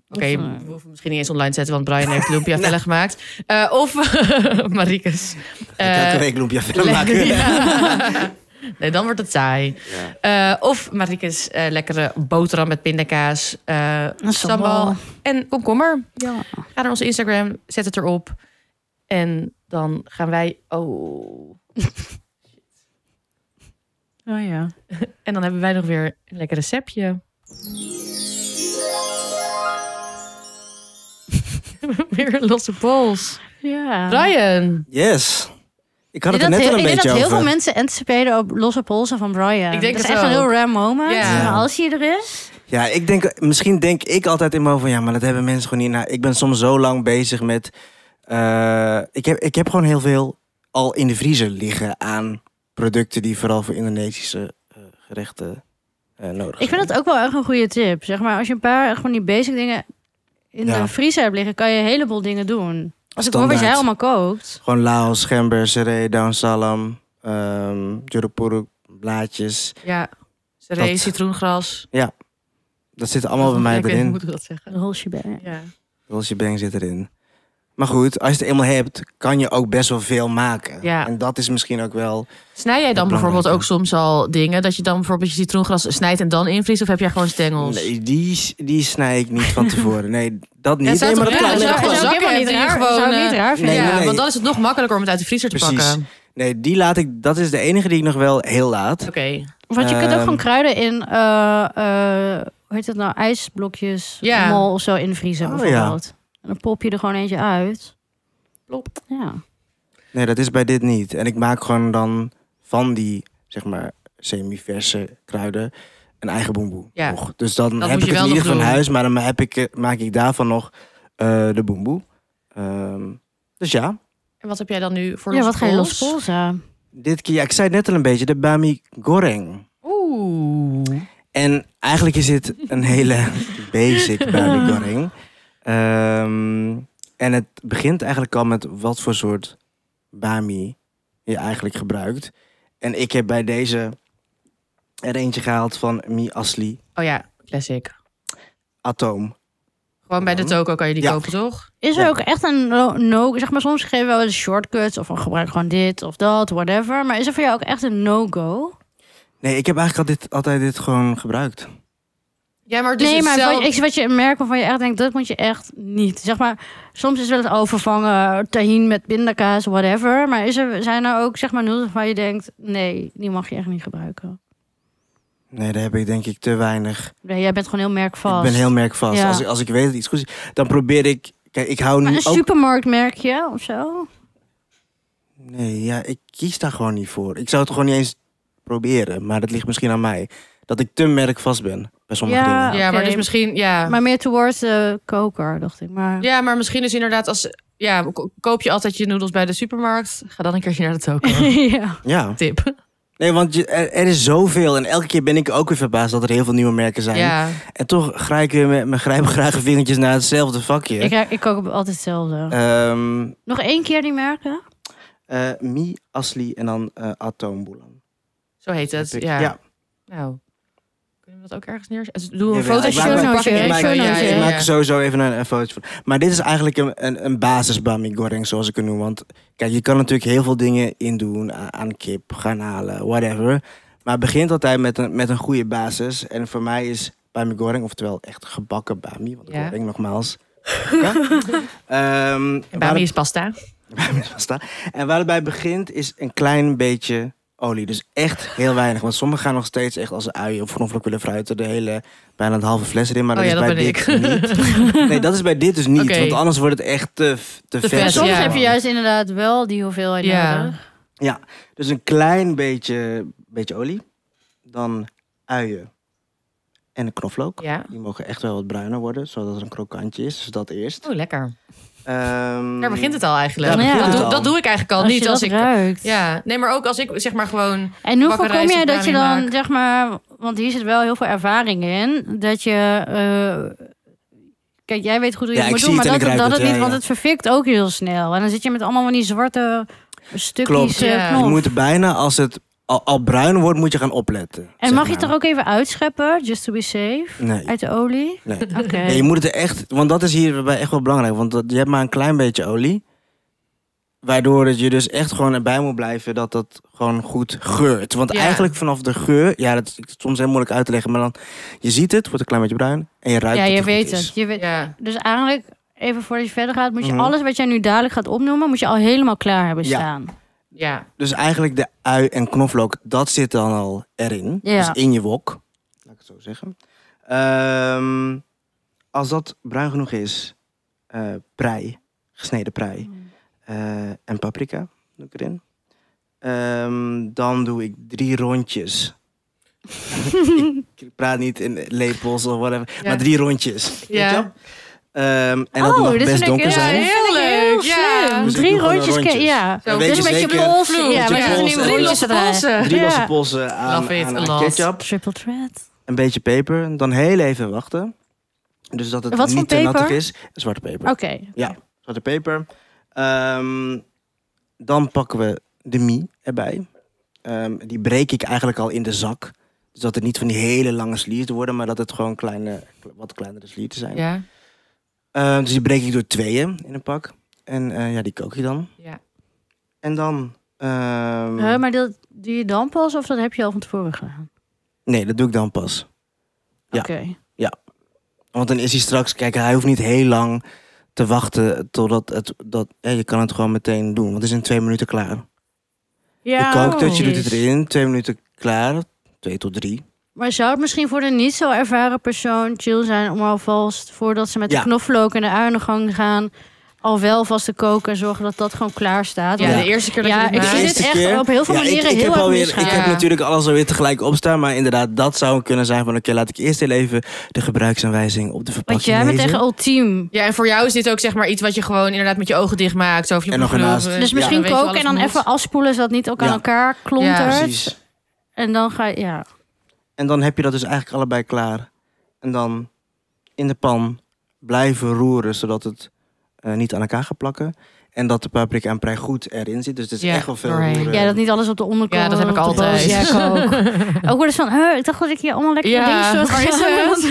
[SPEAKER 1] oké,
[SPEAKER 2] Of, eh,
[SPEAKER 1] we hoeven hem misschien niet eens online te zetten... want Brian heeft Lumpia Vella gemaakt. Eh, of Marikes.
[SPEAKER 3] Ga ik elke
[SPEAKER 1] Eh,
[SPEAKER 3] week loempia verder maken.
[SPEAKER 1] Ja. Nee, dan wordt het saai. Eh, of Marikes eh, lekkere boterham met pindakaas, eh
[SPEAKER 2] Een
[SPEAKER 1] sambal
[SPEAKER 2] sambal.
[SPEAKER 1] en komkommer.
[SPEAKER 2] ja.
[SPEAKER 1] Ga naar onze Instagram, zet het erop. En dan gaan wij. Oh.
[SPEAKER 2] Oh ja.
[SPEAKER 1] En dan hebben wij nog weer een lekker receptje. weer een losse pols.
[SPEAKER 2] Ja.
[SPEAKER 1] Brian.
[SPEAKER 3] Yes. Ik had
[SPEAKER 2] ik
[SPEAKER 3] het er
[SPEAKER 2] denk dat
[SPEAKER 3] net
[SPEAKER 2] heel,
[SPEAKER 3] al een
[SPEAKER 2] ik denk
[SPEAKER 3] beetje
[SPEAKER 2] dat heel
[SPEAKER 3] over.
[SPEAKER 2] veel mensen anticiperen op losse polsen van Brian.
[SPEAKER 1] Ik denk
[SPEAKER 2] dat is
[SPEAKER 1] het
[SPEAKER 2] echt een
[SPEAKER 1] ook.
[SPEAKER 2] heel rare moment.
[SPEAKER 1] Ja.
[SPEAKER 2] Maar als hij er is.
[SPEAKER 3] Ja, ik denk, misschien denk ik altijd in mijn hoofd van ja, maar dat hebben mensen gewoon niet. Nou, ik ben soms zo lang bezig met. eh, ik, heb, ik heb gewoon heel veel al in de vriezer liggen aan producten die vooral voor Indonesische eh, gerechten eh, nodig
[SPEAKER 2] Ik vind dat ook wel echt een goede tip. Zeg maar, als je een paar gewoon die basic dingen in
[SPEAKER 3] Ja.
[SPEAKER 2] de vriezer hebt liggen, kan je een heleboel dingen doen. Als ik hoor wat
[SPEAKER 3] Standaard.
[SPEAKER 2] jij allemaal kookt.
[SPEAKER 3] Gewoon Laos, gember, seré, down salam, um, blaadjes.
[SPEAKER 1] Ja. Seree,
[SPEAKER 3] Dat-
[SPEAKER 1] citroengras.
[SPEAKER 3] Dat zit allemaal bij mij
[SPEAKER 1] ik weet niet
[SPEAKER 3] binnen.
[SPEAKER 1] hoe ik dat zeggen.
[SPEAKER 2] Een holsje bij.
[SPEAKER 1] Ja.
[SPEAKER 3] Roosje Bang zit erin. Maar goed, als je het eenmaal hebt, kan je ook best wel veel maken.
[SPEAKER 1] Ja.
[SPEAKER 3] En dat is misschien ook wel...
[SPEAKER 1] Snij jij dan
[SPEAKER 3] Dat
[SPEAKER 1] bijvoorbeeld ook
[SPEAKER 3] belangrijk,
[SPEAKER 1] soms al dingen? Dat je dan bijvoorbeeld je citroengras snijdt en dan invriest? Of heb jij gewoon stengels?
[SPEAKER 3] Nee, die, die snij ik niet van tevoren. Nee, dat niet.
[SPEAKER 1] Ja, zou
[SPEAKER 3] nee, maar
[SPEAKER 1] toch
[SPEAKER 3] dat
[SPEAKER 1] raar zijn?
[SPEAKER 3] kan ik
[SPEAKER 1] Zou-
[SPEAKER 3] wel.
[SPEAKER 1] zou- zakken en die gewoon,
[SPEAKER 2] zou ik niet
[SPEAKER 1] eh,
[SPEAKER 2] raar vinden.
[SPEAKER 3] Nee,
[SPEAKER 1] ja,
[SPEAKER 3] nee, nee.
[SPEAKER 1] want dan is het nog makkelijker om het uit de vriezer te
[SPEAKER 3] Precies.
[SPEAKER 1] pakken.
[SPEAKER 3] Nee, die laat ik... Dat is de enige die ik nog wel heel laat.
[SPEAKER 1] Oké.
[SPEAKER 2] Want je kunt ook
[SPEAKER 3] Ehm.
[SPEAKER 2] gewoon kruiden in, eh, eh, hoe heet dat nou, ijsblokjes,
[SPEAKER 1] Ja.
[SPEAKER 2] mol of zo invriezen
[SPEAKER 3] Oh,
[SPEAKER 2] bijvoorbeeld. En dan pop je er gewoon eentje uit.
[SPEAKER 1] Plop.
[SPEAKER 2] Ja.
[SPEAKER 3] Nee, dat is bij dit niet. En ik maak gewoon dan van die, zeg maar, semi-verse kruiden een eigen boemboe.
[SPEAKER 1] Ja.
[SPEAKER 3] nog. Dus dan
[SPEAKER 1] Dat
[SPEAKER 3] heb
[SPEAKER 1] moet
[SPEAKER 3] ik
[SPEAKER 1] je
[SPEAKER 3] het in
[SPEAKER 1] wel
[SPEAKER 3] ieder
[SPEAKER 1] nog
[SPEAKER 3] geval in
[SPEAKER 1] doen.
[SPEAKER 3] huis, maar dan heb ik, eh, maak ik daarvan nog eh, de boemboe. Ehm, dus ja,
[SPEAKER 1] En wat heb jij dan nu voor
[SPEAKER 2] ja,
[SPEAKER 1] losse
[SPEAKER 2] wat ga je
[SPEAKER 1] pols?
[SPEAKER 2] los polsen?
[SPEAKER 3] Dit keer, ja, ik zei het net al een beetje, de Bami Goreng.
[SPEAKER 1] Oeh.
[SPEAKER 3] En eigenlijk is dit een hele basic Bami Goreng. Ehm, en het begint eigenlijk al met wat voor soort Bami je eigenlijk gebruikt. En ik heb bij deze er eentje gehaald van Mi Asli
[SPEAKER 1] Oh ja, classic.
[SPEAKER 3] Atoom.
[SPEAKER 1] Gewoon bij de toko kan je die
[SPEAKER 3] Ja.
[SPEAKER 1] kopen, toch?
[SPEAKER 2] Is er
[SPEAKER 3] Ja.
[SPEAKER 2] ook echt een no, no- zeg maar soms geven we wel eens shortcuts of van gebruik gewoon dit of dat, whatever. Maar is er voor jou ook echt een no-go?
[SPEAKER 3] Nee, ik heb eigenlijk altijd, altijd dit gewoon gebruikt.
[SPEAKER 1] Ja, maar dus
[SPEAKER 2] nee, maar
[SPEAKER 1] zelf...
[SPEAKER 2] wat, ik, wat je merkt waarvan je echt denkt, dat moet je echt niet. Zeg maar, soms is wel het overvangen, tahin met pindakaas, whatever. Maar is er, zijn er ook zeg maar nul waarvan je denkt, nee, die mag je echt niet gebruiken.
[SPEAKER 3] Nee, daar heb ik denk ik te weinig.
[SPEAKER 2] Nee, jij bent gewoon heel merkvast.
[SPEAKER 3] Ik ben heel merkvast.
[SPEAKER 2] Ja.
[SPEAKER 3] Als, ik, als ik weet dat iets goed is, dan probeer ik... Kijk, ik hou
[SPEAKER 2] Maar
[SPEAKER 3] nu
[SPEAKER 2] een
[SPEAKER 3] ook...
[SPEAKER 2] supermarktmerkje of zo?
[SPEAKER 3] Nee, ja, ik kies daar gewoon niet voor. Ik zou het gewoon niet eens proberen, maar dat ligt misschien aan mij. Dat ik te merkvast ben bij sommige
[SPEAKER 2] Ja.
[SPEAKER 3] dingen.
[SPEAKER 1] Ja, maar
[SPEAKER 2] Oké.
[SPEAKER 1] dus misschien... Ja.
[SPEAKER 2] Maar meer towards de koker, dacht ik. Maar
[SPEAKER 1] ja, maar misschien is inderdaad als... Ja, ko- koop je altijd je noedels bij de supermarkt? Ga dan een keertje naar de toko.
[SPEAKER 2] ja.
[SPEAKER 3] Ja,
[SPEAKER 1] Tip.
[SPEAKER 3] nee, want je, er, er is zoveel en elke keer ben ik ook weer verbaasd dat er heel veel nieuwe merken zijn.
[SPEAKER 1] Ja.
[SPEAKER 3] En toch ga ik weer met mijn grijpgrage vingertjes naar hetzelfde vakje.
[SPEAKER 2] Ik, ik kook altijd hetzelfde.
[SPEAKER 3] Ehm,
[SPEAKER 2] Nog één keer die merken?
[SPEAKER 3] eh, Mi, Asli en dan eh Atoomboelan.
[SPEAKER 1] Zo heet het.
[SPEAKER 3] Heb ik-
[SPEAKER 1] Ja. Nou, kunnen we dat ook ergens neerzetten? Doe een
[SPEAKER 3] Jawel,
[SPEAKER 1] fotootje.
[SPEAKER 3] ik
[SPEAKER 1] van
[SPEAKER 3] maak-
[SPEAKER 1] de
[SPEAKER 3] ik maak-
[SPEAKER 1] verpakking.
[SPEAKER 2] ik maak-
[SPEAKER 1] Ja, ja,
[SPEAKER 2] ik
[SPEAKER 1] ja,
[SPEAKER 3] Ik maak
[SPEAKER 1] ja.
[SPEAKER 3] er sowieso even een, een fotootje van. Maar dit is eigenlijk een, een, een basis Bami Goreng, zoals ik het noem. Want kijk, je kan natuurlijk heel veel dingen indoen a- aan kip, garnalen, whatever. Maar het begint altijd met een, met een goede basis. En voor mij is Bami Goreng, oftewel echt gebakken Bami, want
[SPEAKER 1] Ja.
[SPEAKER 3] Goreng nogmaals. Ja? Ehm,
[SPEAKER 1] En
[SPEAKER 3] waar
[SPEAKER 1] Bami
[SPEAKER 3] het-
[SPEAKER 1] is pasta.
[SPEAKER 3] Bami is pasta. En waar het bij begint is een klein beetje olie. Dus echt heel weinig. Want sommigen gaan nog steeds echt als uien of knoflook willen fruiten. De hele, bijna een halve fles erin. Maar
[SPEAKER 1] Oh
[SPEAKER 3] dat
[SPEAKER 1] ja,
[SPEAKER 3] is
[SPEAKER 1] dat
[SPEAKER 3] bij
[SPEAKER 1] ben
[SPEAKER 3] dit
[SPEAKER 1] ik.
[SPEAKER 3] niet. Nee, dat is bij dit dus niet.
[SPEAKER 1] Oké.
[SPEAKER 3] Want anders wordt het echt te, f- te,
[SPEAKER 1] Te
[SPEAKER 3] vers.
[SPEAKER 1] vers,
[SPEAKER 2] Soms
[SPEAKER 1] ja.
[SPEAKER 2] heb je juist inderdaad wel die hoeveelheid
[SPEAKER 1] Ja.
[SPEAKER 2] nodig.
[SPEAKER 3] Dus een klein beetje, beetje olie. Dan uien. En een knoflook.
[SPEAKER 1] Ja.
[SPEAKER 3] Die mogen echt wel wat bruiner worden. Zodat er een krokantje is. Dus dat eerst.
[SPEAKER 1] Oh, lekker.
[SPEAKER 3] Ehm,
[SPEAKER 1] Daar begint het al eigenlijk.
[SPEAKER 3] Daar
[SPEAKER 2] Ja.
[SPEAKER 3] begint
[SPEAKER 1] dat,
[SPEAKER 2] het
[SPEAKER 1] doe,
[SPEAKER 3] al.
[SPEAKER 1] dat doe ik eigenlijk al
[SPEAKER 2] Als je
[SPEAKER 1] niet als
[SPEAKER 2] dat
[SPEAKER 1] ik.
[SPEAKER 2] ruikt.
[SPEAKER 1] Ja, nee, maar ook als ik zeg maar gewoon.
[SPEAKER 2] En
[SPEAKER 1] Bakken
[SPEAKER 2] hoe voorkom
[SPEAKER 1] rijst
[SPEAKER 2] jij
[SPEAKER 1] of
[SPEAKER 2] dat je dan,
[SPEAKER 1] brownie maak.
[SPEAKER 2] zeg maar, want hier zit wel heel veel ervaring in, dat je, eh, kijk, jij weet goed hoe je het
[SPEAKER 3] Ja, ik
[SPEAKER 2] moet
[SPEAKER 3] zie
[SPEAKER 2] doen, maar
[SPEAKER 3] het en
[SPEAKER 2] dat, dat
[SPEAKER 3] ik ruik
[SPEAKER 2] het
[SPEAKER 3] het,
[SPEAKER 2] niet,
[SPEAKER 3] ja,
[SPEAKER 2] want
[SPEAKER 3] ja.
[SPEAKER 2] het verfikt ook heel snel. En dan zit je met allemaal van die zwarte stukjes
[SPEAKER 3] Klopt.
[SPEAKER 2] eh,
[SPEAKER 1] Ja.
[SPEAKER 2] knol.
[SPEAKER 3] Je moet er bijna, als het al, al bruin wordt, moet je gaan opletten.
[SPEAKER 2] En
[SPEAKER 3] zeg
[SPEAKER 2] mag je
[SPEAKER 3] maar.
[SPEAKER 2] het er ook even uitscheppen, just to be safe,
[SPEAKER 3] Nee.
[SPEAKER 2] uit de olie?
[SPEAKER 3] nee.
[SPEAKER 2] Oké.
[SPEAKER 3] Ja, je moet het er echt, want dat is hierbij echt wel belangrijk. Want dat, je hebt maar een klein beetje olie. Waardoor dat je dus echt gewoon erbij moet blijven dat dat gewoon goed geurt. Want
[SPEAKER 1] Ja.
[SPEAKER 3] eigenlijk vanaf de geur, ja, dat is soms heel moeilijk uit te leggen. Maar dan, je ziet het, wordt een klein beetje bruin. En je ruikt
[SPEAKER 2] Ja,
[SPEAKER 3] dat
[SPEAKER 2] je
[SPEAKER 3] het goed
[SPEAKER 2] weet
[SPEAKER 3] is.
[SPEAKER 2] het. Je weet,
[SPEAKER 1] Ja,
[SPEAKER 2] Dus eigenlijk, even voordat je verder gaat, moet je
[SPEAKER 3] Mhm.
[SPEAKER 2] alles wat jij nu dadelijk gaat opnoemen, moet je al helemaal klaar hebben
[SPEAKER 3] Ja.
[SPEAKER 2] staan.
[SPEAKER 1] ja.
[SPEAKER 3] Dus eigenlijk de ui en knoflook, dat zit dan al erin.
[SPEAKER 2] Ja.
[SPEAKER 3] Dus in je wok. Laat ik het zo zeggen. Ehm, als dat bruin genoeg is, eh, prei, gesneden prei
[SPEAKER 2] Hmm.
[SPEAKER 3] eh, en paprika doe ik erin. Ehm, dan doe ik drie rondjes. ik praat niet in lepels of whatever,
[SPEAKER 1] Ja.
[SPEAKER 3] maar drie rondjes.
[SPEAKER 1] Ja.
[SPEAKER 3] Weet je wel? Ehm, en
[SPEAKER 2] Oh,
[SPEAKER 3] dat mag best
[SPEAKER 2] vind ik-
[SPEAKER 3] donker
[SPEAKER 2] ja,
[SPEAKER 3] zijn.
[SPEAKER 2] dit vind ik
[SPEAKER 1] Heel
[SPEAKER 2] heel
[SPEAKER 1] leuk, ja.
[SPEAKER 2] slim.
[SPEAKER 3] Dus ik
[SPEAKER 2] Drie
[SPEAKER 3] doe gewoon
[SPEAKER 2] rondjes.
[SPEAKER 3] rondjes.
[SPEAKER 2] ke- Ja.
[SPEAKER 1] Zo,
[SPEAKER 3] weet
[SPEAKER 2] Dus
[SPEAKER 3] je
[SPEAKER 2] een beetje
[SPEAKER 3] zeker-
[SPEAKER 2] pols.
[SPEAKER 1] Vloer,
[SPEAKER 2] Ja,
[SPEAKER 3] met je
[SPEAKER 2] maar er
[SPEAKER 3] pols.
[SPEAKER 2] nieuwe
[SPEAKER 1] Drie
[SPEAKER 2] rondjes
[SPEAKER 1] losse
[SPEAKER 2] erbij.
[SPEAKER 1] polsen.
[SPEAKER 3] Drie
[SPEAKER 2] Ja.
[SPEAKER 3] losse polsen aan,
[SPEAKER 1] Love it
[SPEAKER 3] aan,
[SPEAKER 1] a
[SPEAKER 3] aan
[SPEAKER 1] lot.
[SPEAKER 3] ketchup.
[SPEAKER 2] Triple thread.
[SPEAKER 3] een beetje peper. Dan heel even wachten. Dus dat het
[SPEAKER 2] Wat voor
[SPEAKER 3] niet te nattig
[SPEAKER 2] peper?
[SPEAKER 3] is. Zwarte peper.
[SPEAKER 2] Oké.
[SPEAKER 3] Zwarte peper. Ehm, dan pakken we de mie erbij. Ehm, die breek ik eigenlijk al in de zak. Dus dat het niet van die hele lange slierten worden, maar dat het gewoon kleine, wat kleinere slierten zijn.
[SPEAKER 1] Ja.
[SPEAKER 3] Eh, dus die breek ik door tweeën in een pak. En eh, ja, die kook je dan.
[SPEAKER 1] Ja.
[SPEAKER 3] En dan... ehm,
[SPEAKER 2] Hè, maar dat doe je dan pas of dat heb je al van tevoren gedaan?
[SPEAKER 3] Nee, dat doe ik dan pas. Ja.
[SPEAKER 2] Oké.
[SPEAKER 3] Want dan is hij straks, kijk, hij hoeft niet heel lang te wachten totdat het, dat, ja, je kan het gewoon meteen doen. Want het is in twee minuten klaar.
[SPEAKER 2] Ja,
[SPEAKER 3] je kookt het, je doet
[SPEAKER 2] precies.
[SPEAKER 3] het erin, twee minuten klaar, twee tot drie.
[SPEAKER 2] Maar zou het misschien voor een niet zo ervaren persoon chill zijn om alvast voordat ze met
[SPEAKER 3] Ja.
[SPEAKER 2] de knoflook en de uiengang gaan, al wel vast te koken en zorgen dat dat gewoon klaar staat?
[SPEAKER 1] Ja,
[SPEAKER 2] Want-
[SPEAKER 1] de eerste keer dat
[SPEAKER 2] Ja,
[SPEAKER 1] je dit
[SPEAKER 2] ik
[SPEAKER 1] maakt.
[SPEAKER 2] vind het
[SPEAKER 3] Eerste
[SPEAKER 2] echt
[SPEAKER 3] keer.
[SPEAKER 2] op heel veel
[SPEAKER 3] Ja, ik-
[SPEAKER 2] manieren
[SPEAKER 3] ik,
[SPEAKER 2] heel
[SPEAKER 3] heb
[SPEAKER 2] erg
[SPEAKER 3] alweer,
[SPEAKER 2] misgaan.
[SPEAKER 3] Ik heb
[SPEAKER 1] Ja.
[SPEAKER 3] natuurlijk alles alweer tegelijk opstaan, maar inderdaad, dat zou kunnen zijn van, oké, laat ik eerst heel even de gebruiksaanwijzing op de
[SPEAKER 2] Want
[SPEAKER 3] verpakking
[SPEAKER 2] jij bent
[SPEAKER 3] lezen.
[SPEAKER 2] echt ultiem.
[SPEAKER 1] Ja, en voor jou is dit ook zeg maar iets wat je gewoon inderdaad met je ogen dicht maakt. Zo of je
[SPEAKER 3] En
[SPEAKER 1] moet
[SPEAKER 3] nog ernaast.
[SPEAKER 1] geloven.
[SPEAKER 2] Dus
[SPEAKER 1] Eh, Ja,
[SPEAKER 2] misschien
[SPEAKER 1] dan weet je
[SPEAKER 2] koken en dan
[SPEAKER 1] alles moet.
[SPEAKER 2] even afspoelen zodat niet ook aan
[SPEAKER 3] Ja.
[SPEAKER 2] elkaar klontert.
[SPEAKER 3] Precies.
[SPEAKER 2] En dan ga je, ja.
[SPEAKER 3] En dan heb je dat dus eigenlijk allebei klaar. En dan in de pan blijven roeren, zodat het eh, niet aan elkaar gaat plakken. En dat de paprika en prei goed erin zit. Dus het is
[SPEAKER 1] Ja,
[SPEAKER 3] echt wel veel
[SPEAKER 1] doorheen.
[SPEAKER 3] roeren.
[SPEAKER 2] ja, dat niet alles op de onderkant.
[SPEAKER 1] Ja, dat heb ik
[SPEAKER 2] op de
[SPEAKER 1] altijd.
[SPEAKER 2] boven- Ja, ik ook. ook wel eens van, "Huh, ik dacht dat ik hier allemaal lekker
[SPEAKER 1] Ja,
[SPEAKER 2] dingen stond.
[SPEAKER 1] waar is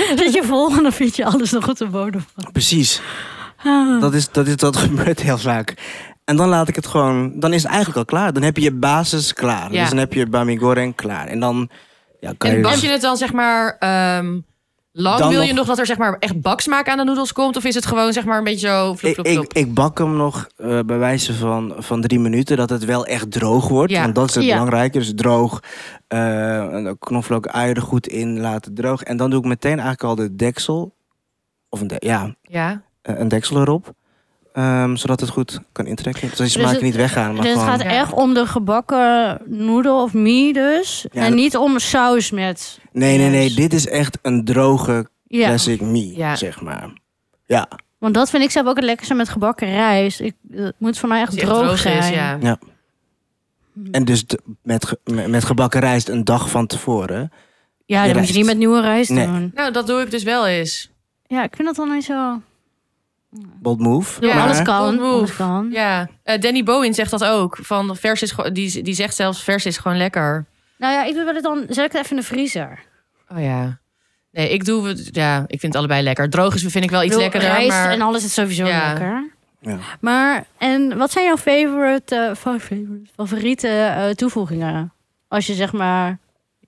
[SPEAKER 1] het?
[SPEAKER 2] Zet je vol en dan vind je alles nog op de bodem.
[SPEAKER 3] Precies.
[SPEAKER 1] Ah.
[SPEAKER 3] Dat, is, dat, is, dat gebeurt heel vaak. En dan laat ik het gewoon... Dan is het eigenlijk al klaar. Dan heb je je basis klaar.
[SPEAKER 1] Ja.
[SPEAKER 3] Dus dan heb je bami goreng klaar. En dan ja, kan
[SPEAKER 1] En
[SPEAKER 3] je...
[SPEAKER 1] bak
[SPEAKER 3] dus-
[SPEAKER 1] je het dan zeg maar ehm, lang?
[SPEAKER 3] Dan
[SPEAKER 1] Wil je
[SPEAKER 3] nog-
[SPEAKER 1] nog dat er zeg maar echt baksmaak aan de noedels komt? Of is het gewoon zeg maar een beetje zo vloep,
[SPEAKER 3] ik,
[SPEAKER 1] vloep, vloep?
[SPEAKER 3] ik, ik bak hem nog eh, bij wijze van, van drie minuten. Dat het wel echt droog wordt.
[SPEAKER 1] Ja.
[SPEAKER 3] Want dat is het
[SPEAKER 2] Ja.
[SPEAKER 3] belangrijke. Dus droog. eh, en de knoflook ui er goed in laten droog. En dan doe ik meteen eigenlijk al de deksel. Of een, de- ja,
[SPEAKER 1] Ja.
[SPEAKER 3] eh, een deksel erop. Ehm, zodat het goed kan intrekken. Dus Zodat die smaken
[SPEAKER 2] het-
[SPEAKER 3] niet weggaan. Maar
[SPEAKER 2] Dus het
[SPEAKER 3] gewoon,
[SPEAKER 2] gaat
[SPEAKER 1] Ja.
[SPEAKER 2] echt om de gebakken noedel of mie dus.
[SPEAKER 3] Ja,
[SPEAKER 2] en
[SPEAKER 3] dat-
[SPEAKER 2] niet om saus met.
[SPEAKER 3] nee, nee, nee.
[SPEAKER 2] juist.
[SPEAKER 3] Dit is echt een droge
[SPEAKER 2] Ja.
[SPEAKER 3] classic mie,
[SPEAKER 1] Ja.
[SPEAKER 3] zeg maar. Ja,
[SPEAKER 2] Want dat vind ik zelf ook het lekkerste met gebakken rijst. Ik, het moet voor mij echt
[SPEAKER 1] Als die
[SPEAKER 2] droog, zijn.
[SPEAKER 1] is, ja. Mm.
[SPEAKER 3] en dus de- met, ge- met met gebakken rijst een dag van tevoren.
[SPEAKER 2] Ja, dat
[SPEAKER 3] Je
[SPEAKER 2] moet
[SPEAKER 3] rijst.
[SPEAKER 2] je niet met nieuwe rijst
[SPEAKER 3] Nee.
[SPEAKER 2] doen.
[SPEAKER 1] Nou, dat doe ik dus wel eens.
[SPEAKER 2] Ja, ik vind dat dan niet zo...
[SPEAKER 3] Bold move.
[SPEAKER 1] Ja.
[SPEAKER 2] Maar alles
[SPEAKER 1] Bold
[SPEAKER 2] kan,
[SPEAKER 1] move.
[SPEAKER 2] alles kan.
[SPEAKER 1] Ja. Eh, Danny Bowen zegt dat ook. Van vers is gewoon- die, die zegt zelfs vers is gewoon lekker.
[SPEAKER 2] Nou ja, ik doe wel het dan... Zet ik het even in de vriezer.
[SPEAKER 1] Oh ja. Nee, ik doe het. Ja, ik vind het allebei lekker. Droog is vind ik wel iets
[SPEAKER 2] Ik bedoel,
[SPEAKER 1] lekkerder.
[SPEAKER 2] Rijst
[SPEAKER 1] maar...
[SPEAKER 2] en alles is sowieso
[SPEAKER 1] Ja.
[SPEAKER 2] lekker.
[SPEAKER 3] Ja.
[SPEAKER 2] Maar, en wat zijn jouw favorite, eh, fa- favorite, favoriete eh, toevoegingen? Als je zeg maar...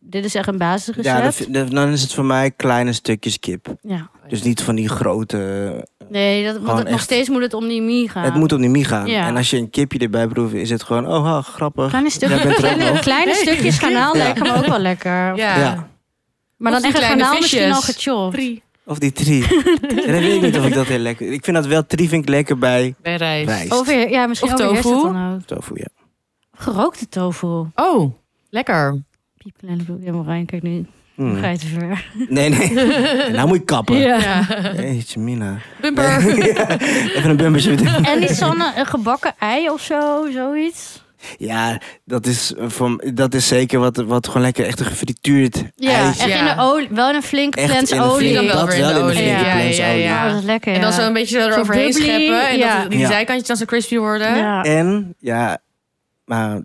[SPEAKER 2] Dit is echt een basisrecept.
[SPEAKER 3] Ja, dat vind- dat- dan is het voor mij kleine stukjes kip.
[SPEAKER 2] Ja.
[SPEAKER 3] Dus niet van die grote...
[SPEAKER 2] Nee, dat, want
[SPEAKER 3] Gewoon
[SPEAKER 2] het- nog
[SPEAKER 3] echt.
[SPEAKER 2] steeds moet het om die mie gaan.
[SPEAKER 3] Het moet op die mie gaan.
[SPEAKER 2] Ja.
[SPEAKER 3] En als je een kipje erbij proeft, is het gewoon... Oh, ha, grappig.
[SPEAKER 2] Kleine stukjes,
[SPEAKER 3] Jij bent er ook
[SPEAKER 2] kleine,
[SPEAKER 3] nog.
[SPEAKER 2] kleine stukjes garnaal
[SPEAKER 3] Ja.
[SPEAKER 2] lijken me ook wel lekker.
[SPEAKER 1] Ja.
[SPEAKER 3] Ja.
[SPEAKER 1] Of
[SPEAKER 2] Maar dan
[SPEAKER 1] die
[SPEAKER 2] echt het
[SPEAKER 1] kleine
[SPEAKER 2] garnaal misschien al
[SPEAKER 1] visjes.
[SPEAKER 2] gechopt.
[SPEAKER 1] Pri.
[SPEAKER 3] Of die tri. En dan weet ik niet of ik dat heel lekker... Ik vind dat wel... Tri vind ik lekker bij
[SPEAKER 1] Bij rijst.
[SPEAKER 3] rijst.
[SPEAKER 2] Of, ja, misschien
[SPEAKER 1] Of
[SPEAKER 2] overheerst het
[SPEAKER 1] tofu.
[SPEAKER 2] dan ook.
[SPEAKER 3] Tofu, ja.
[SPEAKER 2] Gerookte tofu.
[SPEAKER 1] Oh, lekker.
[SPEAKER 2] Piepkleine broek. Ja, Marijn, kijk nu.
[SPEAKER 3] Hmm.
[SPEAKER 2] Ga je te ver.
[SPEAKER 3] Nee, nee. En nou moet je kappen.
[SPEAKER 1] Ja.
[SPEAKER 3] Jeetje, mina.
[SPEAKER 1] Bumper.
[SPEAKER 3] Ja, Even een bumpertje. meteen.
[SPEAKER 2] En die Sanne, een gebakken ei of zo, zoiets.
[SPEAKER 3] Ja, dat is, eh, voor, dat is zeker wat, wat gewoon lekker echt een gefrituurd
[SPEAKER 2] Ja,
[SPEAKER 3] eitje.
[SPEAKER 2] echt
[SPEAKER 1] Ja.
[SPEAKER 2] in de olie. Wel in een flinke
[SPEAKER 3] Echt
[SPEAKER 2] plens
[SPEAKER 3] in een
[SPEAKER 2] olie.
[SPEAKER 1] Dan
[SPEAKER 3] flinke-
[SPEAKER 1] wel
[SPEAKER 3] Dat
[SPEAKER 1] weer in
[SPEAKER 3] wel
[SPEAKER 1] de
[SPEAKER 3] in de
[SPEAKER 1] olie.
[SPEAKER 3] flinke
[SPEAKER 1] Ja,
[SPEAKER 3] plens
[SPEAKER 1] ja, ja,
[SPEAKER 3] olie.
[SPEAKER 1] ja.
[SPEAKER 2] Oh, dat is lekker,
[SPEAKER 1] En dan
[SPEAKER 2] ja.
[SPEAKER 1] zo'n beetje
[SPEAKER 2] Zo'n
[SPEAKER 1] eroverheen
[SPEAKER 2] bubbly,
[SPEAKER 1] scheppen. En
[SPEAKER 2] ja.
[SPEAKER 1] dat die
[SPEAKER 3] Ja.
[SPEAKER 1] zijkantjes dan zo crispy worden.
[SPEAKER 2] Ja.
[SPEAKER 3] En ja, maar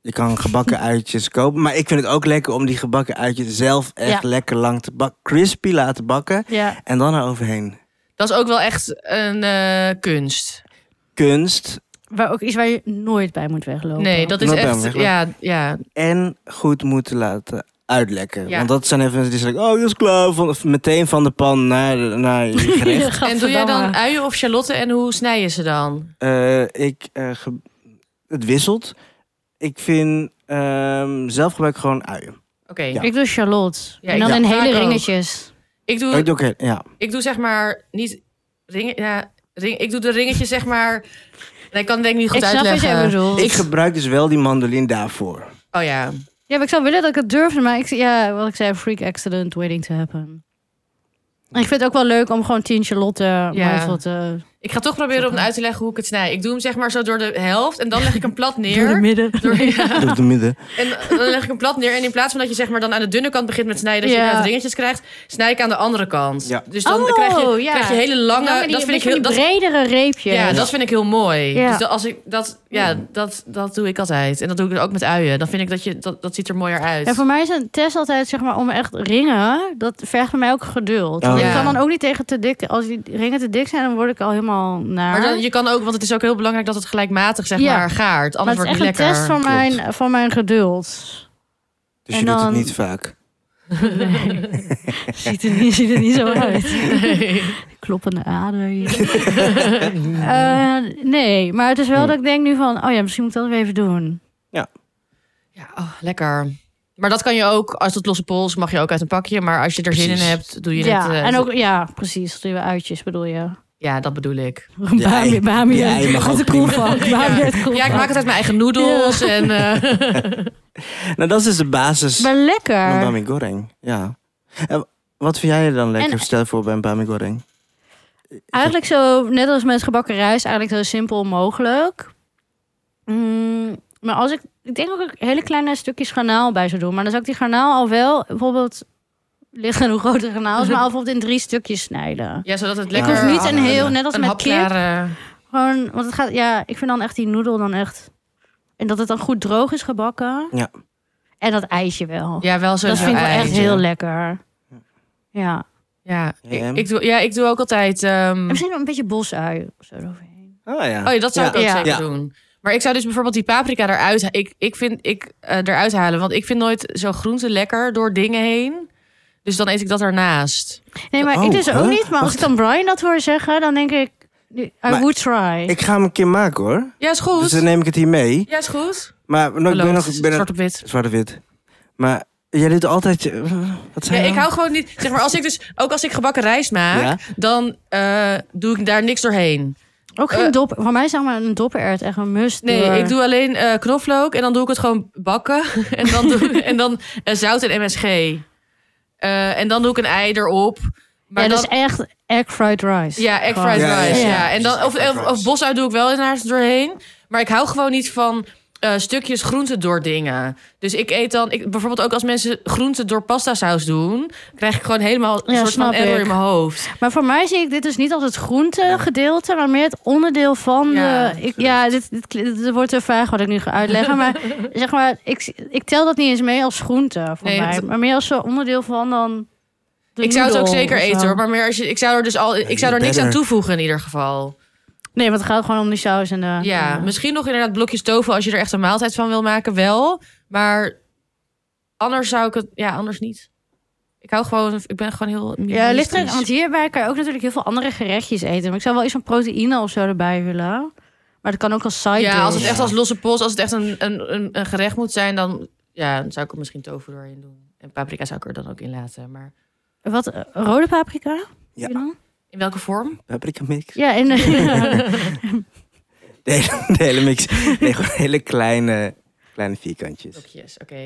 [SPEAKER 3] je kan gebakken uitjes kopen. Maar ik vind het ook lekker om die gebakken uitjes zelf echt
[SPEAKER 2] Ja.
[SPEAKER 3] lekker lang te bakken. Crispy laten bakken
[SPEAKER 2] Ja.
[SPEAKER 3] en dan eroverheen.
[SPEAKER 1] Dat is ook wel echt een eh, kunst.
[SPEAKER 3] Kunst
[SPEAKER 2] Waar ook iets waar je nooit bij moet weglopen.
[SPEAKER 1] Nee, dat is
[SPEAKER 3] Not
[SPEAKER 1] echt...
[SPEAKER 3] bad, maar-
[SPEAKER 1] Ja, ja.
[SPEAKER 3] en goed moeten laten uitlekken.
[SPEAKER 1] Ja.
[SPEAKER 3] Want dat zijn even die zeggen, oh dat is klaar. Van, of meteen van de pan naar, naar je gerecht.
[SPEAKER 1] En doe jij dan uien of charlotte en hoe snij je ze dan?
[SPEAKER 3] Eh, ik, eh, ge- het wisselt. Ik vind ehm, zelf gebruik ik gewoon uien.
[SPEAKER 1] Oké.
[SPEAKER 3] Ja.
[SPEAKER 2] Ik doe Charlotte.
[SPEAKER 1] Ja,
[SPEAKER 2] en
[SPEAKER 1] ik
[SPEAKER 2] dan
[SPEAKER 1] doe
[SPEAKER 2] in
[SPEAKER 1] het vaak
[SPEAKER 2] hele
[SPEAKER 1] ook.
[SPEAKER 2] ringetjes.
[SPEAKER 1] Ik,
[SPEAKER 2] Mm.
[SPEAKER 3] Ik
[SPEAKER 1] doe,
[SPEAKER 3] Oh, doe ook heel- ja.
[SPEAKER 1] ik doe zeg maar niet... Ringen, ja, ring, ik doe de ringetjes zeg maar... Nee, ik kan het denk ik niet goed
[SPEAKER 2] Ik snap wat
[SPEAKER 1] uitleggen.
[SPEAKER 2] jij bedoelt.
[SPEAKER 3] Ik gebruik dus wel die mandolin daarvoor.
[SPEAKER 1] Oh ja.
[SPEAKER 2] Ja, maar ik zou willen dat ik het durfde, maar ik, ja, wat ik zei, freak accident waiting to happen. En ik vind het ook wel leuk om gewoon tien Charlotte mindful te
[SPEAKER 1] Ik ga toch proberen om uit te leggen hoe ik het snij. Ik doe hem zeg maar zo door de helft en dan leg ik hem plat neer.
[SPEAKER 2] Door de midden.
[SPEAKER 1] Door- ja.
[SPEAKER 3] Door de midden.
[SPEAKER 1] En dan leg ik hem plat neer. En in plaats van dat je zeg maar dan aan de dunne kant begint met snijden, dat je
[SPEAKER 2] Ja.
[SPEAKER 1] inderdaad dingetjes krijgt, snij ik aan de andere kant.
[SPEAKER 3] Ja.
[SPEAKER 1] Dus dan
[SPEAKER 2] Oh,
[SPEAKER 1] krijg, je,
[SPEAKER 2] ja.
[SPEAKER 1] krijg je hele
[SPEAKER 2] Dan
[SPEAKER 1] lange.
[SPEAKER 2] met die-
[SPEAKER 1] dat vind ik heel.
[SPEAKER 2] met van
[SPEAKER 1] Dat,
[SPEAKER 2] die bredere reepjes.
[SPEAKER 1] ja, dat vind ik heel mooi.
[SPEAKER 2] Ja.
[SPEAKER 1] Dus dat, als ik dat, ja, dat, dat doe ik altijd. En dat doe ik dus ook met uien. Dan vind ik dat je dat, dat ziet er mooier uit.
[SPEAKER 2] En voor mij is een test altijd, zeg maar, om echt ringen. Dat vergt bij mij ook geduld.
[SPEAKER 3] Oh,
[SPEAKER 2] Want
[SPEAKER 1] ja.
[SPEAKER 2] Ik kan dan ook niet tegen te dik. Als die ringen te dik zijn, dan word ik al helemaal naar.
[SPEAKER 1] Maar dan, je kan ook, want het is ook heel belangrijk dat het gelijkmatig zeg
[SPEAKER 2] Ja.
[SPEAKER 1] maar gaart.
[SPEAKER 2] Maar
[SPEAKER 1] Anders
[SPEAKER 2] het is
[SPEAKER 1] wordt het
[SPEAKER 2] echt een
[SPEAKER 1] lekker.
[SPEAKER 2] test van
[SPEAKER 3] Klopt.
[SPEAKER 2] mijn, van mijn geduld.
[SPEAKER 3] Dus
[SPEAKER 2] En
[SPEAKER 3] je doet
[SPEAKER 2] dan-
[SPEAKER 3] het niet vaak.
[SPEAKER 2] ziet, er niet, ziet er niet zo uit. Kloppende ader hier. Eh, nee, maar het is wel dat ik denk nu van... oh ja, misschien moet ik dat weer even doen.
[SPEAKER 1] Ja, oh, lekker. Maar dat kan je ook, als het losse pols, mag je ook uit een pakje. Maar als je er zin in
[SPEAKER 3] Precies.
[SPEAKER 1] hebt, doe je
[SPEAKER 2] Ja,
[SPEAKER 1] het. eh,
[SPEAKER 2] en ook, ja, precies. Dat doen we uitjes, bedoel je.
[SPEAKER 1] Ja, dat bedoel ik.
[SPEAKER 2] Bami,
[SPEAKER 3] ei-
[SPEAKER 2] bami
[SPEAKER 3] die ei
[SPEAKER 2] uit
[SPEAKER 3] mag
[SPEAKER 2] uit de
[SPEAKER 3] ook prima.
[SPEAKER 2] koelvak. Bami
[SPEAKER 1] Ja.
[SPEAKER 2] uit de koelvak.
[SPEAKER 1] Ja, ik maak het uit mijn eigen noedels. En, eh,
[SPEAKER 3] Nou, dat is dus de basis
[SPEAKER 2] Maar
[SPEAKER 3] van
[SPEAKER 2] lekker.
[SPEAKER 3] Bami Goreng. Ja. En wat vind jij er dan lekker?
[SPEAKER 2] En-
[SPEAKER 3] Stel voor bij een Bami Goreng.
[SPEAKER 2] Eigenlijk zo, net als met gebakken rijst, eigenlijk zo simpel mogelijk. Mm, maar als ik, ik denk ook dat ik hele kleine stukjes garnaal bij zou doen. Maar dan zou ik die garnaal al wel, bijvoorbeeld, liggen aan hoe groot de garnaal is, maar al bijvoorbeeld in drie stukjes snijden.
[SPEAKER 1] ja, zodat het
[SPEAKER 3] Ja.
[SPEAKER 1] lekker...
[SPEAKER 2] Het hoeft niet
[SPEAKER 3] hap-
[SPEAKER 2] een heel, net als
[SPEAKER 1] een
[SPEAKER 2] met
[SPEAKER 1] hapklare-
[SPEAKER 2] kip. Gewoon, want het gaat, ja, ik vind dan echt die noedel dan echt. En dat het dan goed droog is gebakken.
[SPEAKER 3] Ja.
[SPEAKER 2] En dat ijsje wel.
[SPEAKER 1] Ja, wel zo.
[SPEAKER 2] dat vind ik wel echt
[SPEAKER 3] ijsje.
[SPEAKER 2] heel lekker. Ja.
[SPEAKER 1] Ja,
[SPEAKER 3] Ja.
[SPEAKER 1] ik, ik doe, ja, ik doe ook altijd... ehm,
[SPEAKER 2] En misschien nog een beetje bosui of zo eroverheen.
[SPEAKER 3] Oh ja.
[SPEAKER 1] Oh ja, dat zou ik ook
[SPEAKER 2] Ja.
[SPEAKER 1] zeker
[SPEAKER 3] Ja.
[SPEAKER 1] doen. Maar ik zou dus bijvoorbeeld die paprika eruit, ik, ik vind, ik, eh, eruit halen. Want ik vind nooit zo groente lekker door dingen heen. Dus dan eet ik dat ernaast.
[SPEAKER 2] Nee, maar
[SPEAKER 3] Oh,
[SPEAKER 2] ik dus ook
[SPEAKER 3] huh?
[SPEAKER 2] niet. Maar als ik dan Brian dat hoor zeggen, dan denk ik, I
[SPEAKER 3] Maar
[SPEAKER 2] would try.
[SPEAKER 3] Ik ga hem een keer maken hoor.
[SPEAKER 1] Ja, is goed.
[SPEAKER 3] Dus dan neem ik het hier mee.
[SPEAKER 1] Ja, is goed.
[SPEAKER 3] Maar nog- ik ben nog... Ik ben nog
[SPEAKER 1] Zwart op wit.
[SPEAKER 3] zwarte wit. Maar jij doet altijd... eh, Wat
[SPEAKER 1] Ja,
[SPEAKER 3] zijn
[SPEAKER 1] ik hou gewoon niet. Zeg maar, als ik dus, ook als ik gebakken rijst maak,
[SPEAKER 3] Ja.
[SPEAKER 1] dan eh, doe ik daar niks doorheen.
[SPEAKER 2] ook geen
[SPEAKER 1] eh,
[SPEAKER 2] dop. Voor mij zeg maar een dopperert echt een must.
[SPEAKER 1] Nee,
[SPEAKER 2] door.
[SPEAKER 1] ik doe alleen eh, knoflook en dan doe ik het gewoon bakken. en dan, doe, en dan eh, zout en MSG. Eh, en en dan doe ik een ei erop. Maar
[SPEAKER 2] ja,
[SPEAKER 1] dan,
[SPEAKER 2] dat is echt egg fried rice.
[SPEAKER 1] Ja, egg
[SPEAKER 2] Gewoon.
[SPEAKER 1] fried
[SPEAKER 3] Ja, ja,
[SPEAKER 1] rice. Ja,
[SPEAKER 2] ja.
[SPEAKER 1] En dan, of,
[SPEAKER 3] Egg fried
[SPEAKER 1] of,
[SPEAKER 3] rice.
[SPEAKER 1] of bosuit doe ik wel in haar doorheen. Maar ik hou gewoon niet van eh, stukjes groente door dingen. Dus ik eet dan... Ik, bijvoorbeeld ook als mensen groente door pasta saus doen... krijg ik gewoon helemaal een
[SPEAKER 2] Ja,
[SPEAKER 1] soort van
[SPEAKER 2] snap
[SPEAKER 1] error
[SPEAKER 2] ik.
[SPEAKER 1] in mijn hoofd.
[SPEAKER 2] Maar voor mij zie ik dit dus niet als het groente gedeelte, maar meer het onderdeel van
[SPEAKER 1] Ja,
[SPEAKER 2] de. Ik, ja, dit, dit, kli- dit wordt te vaag wat ik nu ga uitleggen. Maar zeg maar, ik, ik tel dat niet eens mee als groente voor
[SPEAKER 1] Nee,
[SPEAKER 2] mij.
[SPEAKER 1] dat-
[SPEAKER 2] Maar meer als zo'n onderdeel van dan. de
[SPEAKER 1] ik zou het ook
[SPEAKER 2] noedel
[SPEAKER 1] zeker
[SPEAKER 2] of zo.
[SPEAKER 1] eten hoor. Maar meer als je, ik zou er dus al... Ik zou er niks aan
[SPEAKER 3] better.
[SPEAKER 1] toevoegen in ieder geval.
[SPEAKER 2] Nee, want het gaat gewoon om die saus en de.
[SPEAKER 1] Ja, misschien nog inderdaad blokjes tofu... als je er echt een maaltijd van wil maken, wel. Maar anders zou ik het... Ja, anders niet. Ik hou gewoon... Ik ben gewoon heel...
[SPEAKER 2] Ja, ligt er,
[SPEAKER 1] minimalistisch.
[SPEAKER 2] want hierbij kan je ook natuurlijk heel veel andere gerechtjes eten. Maar ik zou wel iets van proteïne of zo erbij willen. Maar dat kan ook als side
[SPEAKER 1] Ja, als het
[SPEAKER 2] dish.
[SPEAKER 1] echt als losse pols, als het echt een, een, een, een gerecht moet zijn, dan ja, dan zou ik er misschien tofu doorheen doen. En paprika zou ik er dan ook in laten. Maar
[SPEAKER 2] Wat, eh, rode paprika?
[SPEAKER 3] Ja.
[SPEAKER 2] Heb je dan?
[SPEAKER 1] in welke vorm?
[SPEAKER 3] Paprika mix?
[SPEAKER 2] Ja, en...
[SPEAKER 3] De hele, de hele mix. Nee, gewoon hele kleine, kleine vierkantjes.
[SPEAKER 1] Blokjes, oké.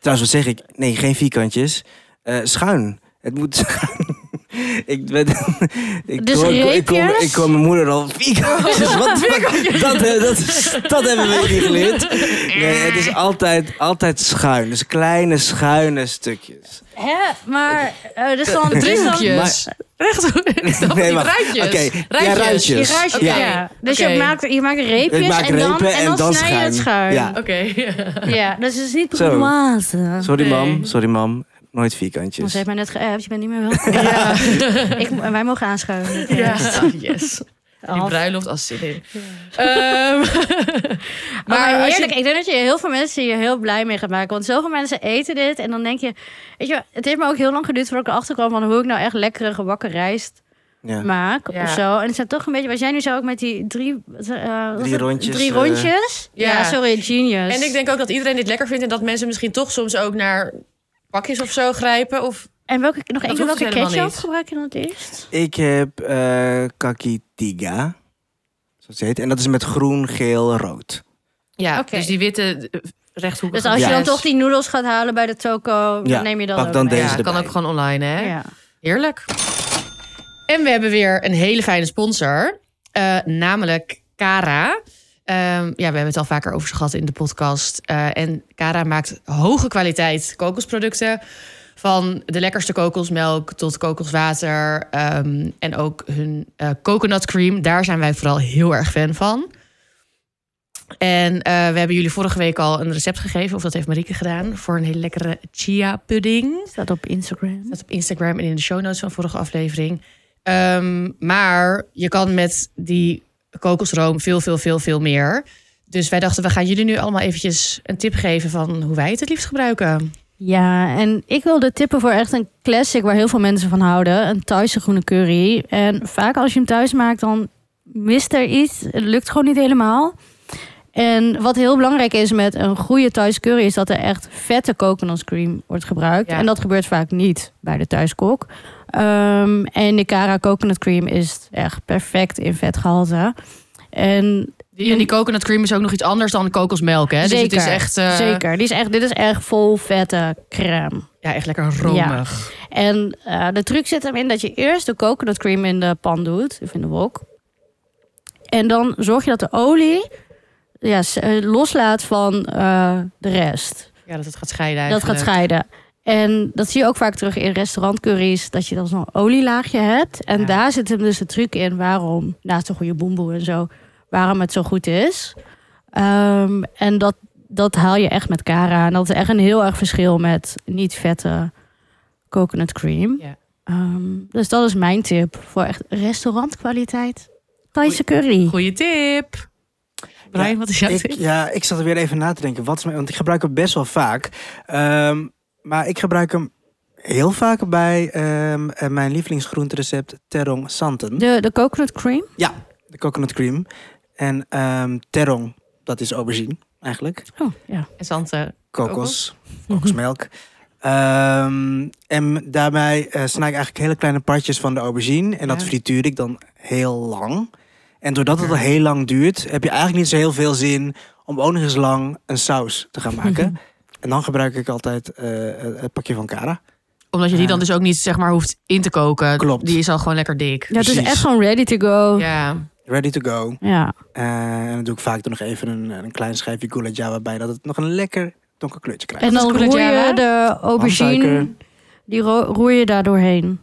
[SPEAKER 3] Trouwens, wat zeg ik? Nee, geen vierkantjes. Eh, schuin. Het moet schuin. ik ben... ik,
[SPEAKER 2] Dus
[SPEAKER 3] hoor- ik, ik, kom,
[SPEAKER 2] reepjes? Oh.
[SPEAKER 3] ik hoor mijn moeder al vierkantjes. Wat, dat, eh, dat, is- dat hebben we niet geleerd. Nee, het is altijd, altijd schuin. Dus kleine schuine stukjes.
[SPEAKER 2] Hè? Maar... eh dus dan... Dus dan
[SPEAKER 1] Driehoekjes. Rechthoek. Ik snap
[SPEAKER 3] Nee,
[SPEAKER 1] het niet.
[SPEAKER 3] wacht.
[SPEAKER 1] Rijtjes.
[SPEAKER 3] Oké, ja,
[SPEAKER 1] Rijtjes.
[SPEAKER 2] je
[SPEAKER 3] rijtjes.
[SPEAKER 2] ruist-
[SPEAKER 1] Oké.
[SPEAKER 2] ja. Dus
[SPEAKER 1] Oké.
[SPEAKER 2] je, maakt, je maakt reepjes
[SPEAKER 3] Ik maak
[SPEAKER 2] en, dan,
[SPEAKER 3] repen
[SPEAKER 2] en dan,
[SPEAKER 3] en dan
[SPEAKER 2] snij je het schuin.
[SPEAKER 3] schuin. Ja.
[SPEAKER 1] Oké.
[SPEAKER 2] Ja, dus het is niet
[SPEAKER 3] Zo.
[SPEAKER 2] bourgeoise.
[SPEAKER 3] Sorry
[SPEAKER 1] Nee.
[SPEAKER 3] mam, sorry mam. Nooit
[SPEAKER 2] Ze
[SPEAKER 3] vierkantjes.
[SPEAKER 2] heeft mij net geappt, je bent niet meer welkom. Ja. Ik, wij mogen aanschuiven.
[SPEAKER 1] Ja. Ah, yes. Die
[SPEAKER 2] Alf.
[SPEAKER 1] bruiloft als zin in. Ehm,
[SPEAKER 2] Oh, Maar,
[SPEAKER 1] maar als
[SPEAKER 2] eerlijk,
[SPEAKER 1] je...
[SPEAKER 2] ik denk dat je heel veel mensen hier heel blij mee gaat maken. Want zoveel mensen eten dit. En dan denk je, weet je, het heeft me ook heel lang geduurd voordat ik erachter kwam van hoe ik nou echt lekkere gebakken rijst
[SPEAKER 3] Ja.
[SPEAKER 2] maak
[SPEAKER 1] Ja.
[SPEAKER 2] of zo. En het zijn toch een beetje, wat jij nu zou ook met die drie, eh, wat
[SPEAKER 3] Drie
[SPEAKER 2] is het?
[SPEAKER 3] rondjes,
[SPEAKER 2] Drie
[SPEAKER 3] eh,
[SPEAKER 2] rondjes?
[SPEAKER 1] ja.
[SPEAKER 2] ja. sorry, genius.
[SPEAKER 1] En ik denk ook dat iedereen dit lekker vindt en dat mensen misschien toch soms ook naar pakjes of zo grijpen. Of
[SPEAKER 2] En welke, nog één keer,
[SPEAKER 1] hoeft
[SPEAKER 2] welke
[SPEAKER 1] helemaal
[SPEAKER 2] ketchup
[SPEAKER 1] niet.
[SPEAKER 2] gebruik je dan het eerst?
[SPEAKER 3] Ik heb eh kakitiga. Zoals het heet. En dat is met groen, geel, rood.
[SPEAKER 1] Ja,
[SPEAKER 2] Oké.
[SPEAKER 1] dus die witte eh, rechthoekige.
[SPEAKER 2] Dus als je
[SPEAKER 3] Ja.
[SPEAKER 2] dan toch die noedels gaat halen bij de toko,
[SPEAKER 3] Ja,
[SPEAKER 2] dan neem je dat
[SPEAKER 3] pak
[SPEAKER 2] ook
[SPEAKER 3] dan
[SPEAKER 2] mee.
[SPEAKER 3] deze
[SPEAKER 1] Ja, kan
[SPEAKER 3] erbij.
[SPEAKER 1] ook gewoon online, hè?
[SPEAKER 2] Ja.
[SPEAKER 1] Heerlijk. En we hebben weer een hele fijne sponsor. Eh, namelijk Cara. Ehm, ja, we hebben het al vaker over ze gehad in de podcast. Eh, en Cara maakt hoge kwaliteit kokosproducten. Van de lekkerste kokosmelk tot kokoswater. ehm, en ook hun eh coconut cream. Daar zijn wij vooral heel erg fan van. En eh, we hebben jullie vorige week al een recept gegeven. Of dat heeft Marieke gedaan. Voor een hele lekkere chia pudding.
[SPEAKER 2] Staat op Instagram.
[SPEAKER 1] Dat op Instagram en in de show notes van vorige aflevering. Ehm, maar je kan met die kokosroom veel, veel, veel, veel meer. Dus wij dachten, we gaan jullie nu allemaal eventjes een tip geven van hoe wij het het liefst gebruiken.
[SPEAKER 2] Ja, en ik wilde tippen voor echt een classic waar heel veel mensen van houden. Een Thaise groene curry. En vaak als je hem thuis maakt, dan mist er iets. Het lukt gewoon niet helemaal. En wat heel belangrijk is met een goede Thaise curry... is dat er echt vette coconut cream wordt gebruikt.
[SPEAKER 1] Ja.
[SPEAKER 2] En dat gebeurt vaak niet bij de thuiskok. Ehm, en de Cara coconut cream is echt perfect in vetgehalte. En
[SPEAKER 1] Die, en die coconut cream is ook nog iets anders dan kokosmelk, hè?
[SPEAKER 2] zeker,
[SPEAKER 1] dus het is echt, eh,
[SPEAKER 2] zeker. Die is echt, dit is echt vol vette crème.
[SPEAKER 1] Ja, echt lekker romig.
[SPEAKER 2] En eh, de truc zit hem in dat je eerst de coconut cream in de pan doet, of in de wok. En dan zorg je dat de olie ja, s- eh, loslaat van eh, de rest.
[SPEAKER 1] Ja, dat het gaat scheiden
[SPEAKER 2] Dat
[SPEAKER 1] eigenlijk.
[SPEAKER 2] gaat scheiden. En dat zie je ook vaak terug in restaurantcurry's, dat je dan zo'n olielaagje hebt. En
[SPEAKER 1] Ja.
[SPEAKER 2] daar zit hem dus de truc in waarom, naast een goede boemboe en zo, waarom het zo goed is. Ehm, en dat, dat haal je echt met Cara. En dat is echt een heel erg verschil met niet vette coconut cream.
[SPEAKER 1] Ja.
[SPEAKER 2] Ehm, dus dat is mijn tip voor echt restaurantkwaliteit. Thaise curry.
[SPEAKER 1] Goeie tip. Brian, wat is jouw
[SPEAKER 3] Ik,
[SPEAKER 1] tip?
[SPEAKER 3] ja, ik zat er weer even na te denken. Wat is mijn, want ik gebruik hem best wel vaak. Ehm, maar ik gebruik hem heel vaak bij ehm, eh, mijn lievelingsgroenterecept terong santen.
[SPEAKER 2] De, de coconut cream.
[SPEAKER 3] De coconut cream. En ehm, terong, dat is aubergine eigenlijk.
[SPEAKER 2] Oh, ja.
[SPEAKER 1] En Sante.
[SPEAKER 3] kokos, kokosmelk. Ehm, en daarbij eh, snij ik eigenlijk hele kleine partjes van de aubergine. En dat
[SPEAKER 1] Ja.
[SPEAKER 3] frituur ik dan heel lang. En doordat het al heel lang duurt, heb je eigenlijk niet zo heel veel zin om ook nog eens lang een saus te gaan maken. en dan gebruik ik altijd eh, het pakje van Cara.
[SPEAKER 1] Omdat je die dan dus ook niet zeg maar hoeft in te koken.
[SPEAKER 3] Klopt.
[SPEAKER 1] Die is al gewoon lekker dik.
[SPEAKER 2] ja het is
[SPEAKER 3] Precies.
[SPEAKER 2] echt gewoon ready to go. Ja.
[SPEAKER 1] Ja.
[SPEAKER 3] Ready to go.
[SPEAKER 2] ja.
[SPEAKER 3] Eh, en dan doe ik vaak er nog even een, een klein schijfje gulab jawa bij, dat het nog een lekker donker kleurtje krijgt.
[SPEAKER 2] En
[SPEAKER 1] is
[SPEAKER 2] dan
[SPEAKER 1] koelat
[SPEAKER 2] roer je
[SPEAKER 1] java?
[SPEAKER 2] de aubergine,
[SPEAKER 3] Handsuiker.
[SPEAKER 2] die ro- roer je daar doorheen.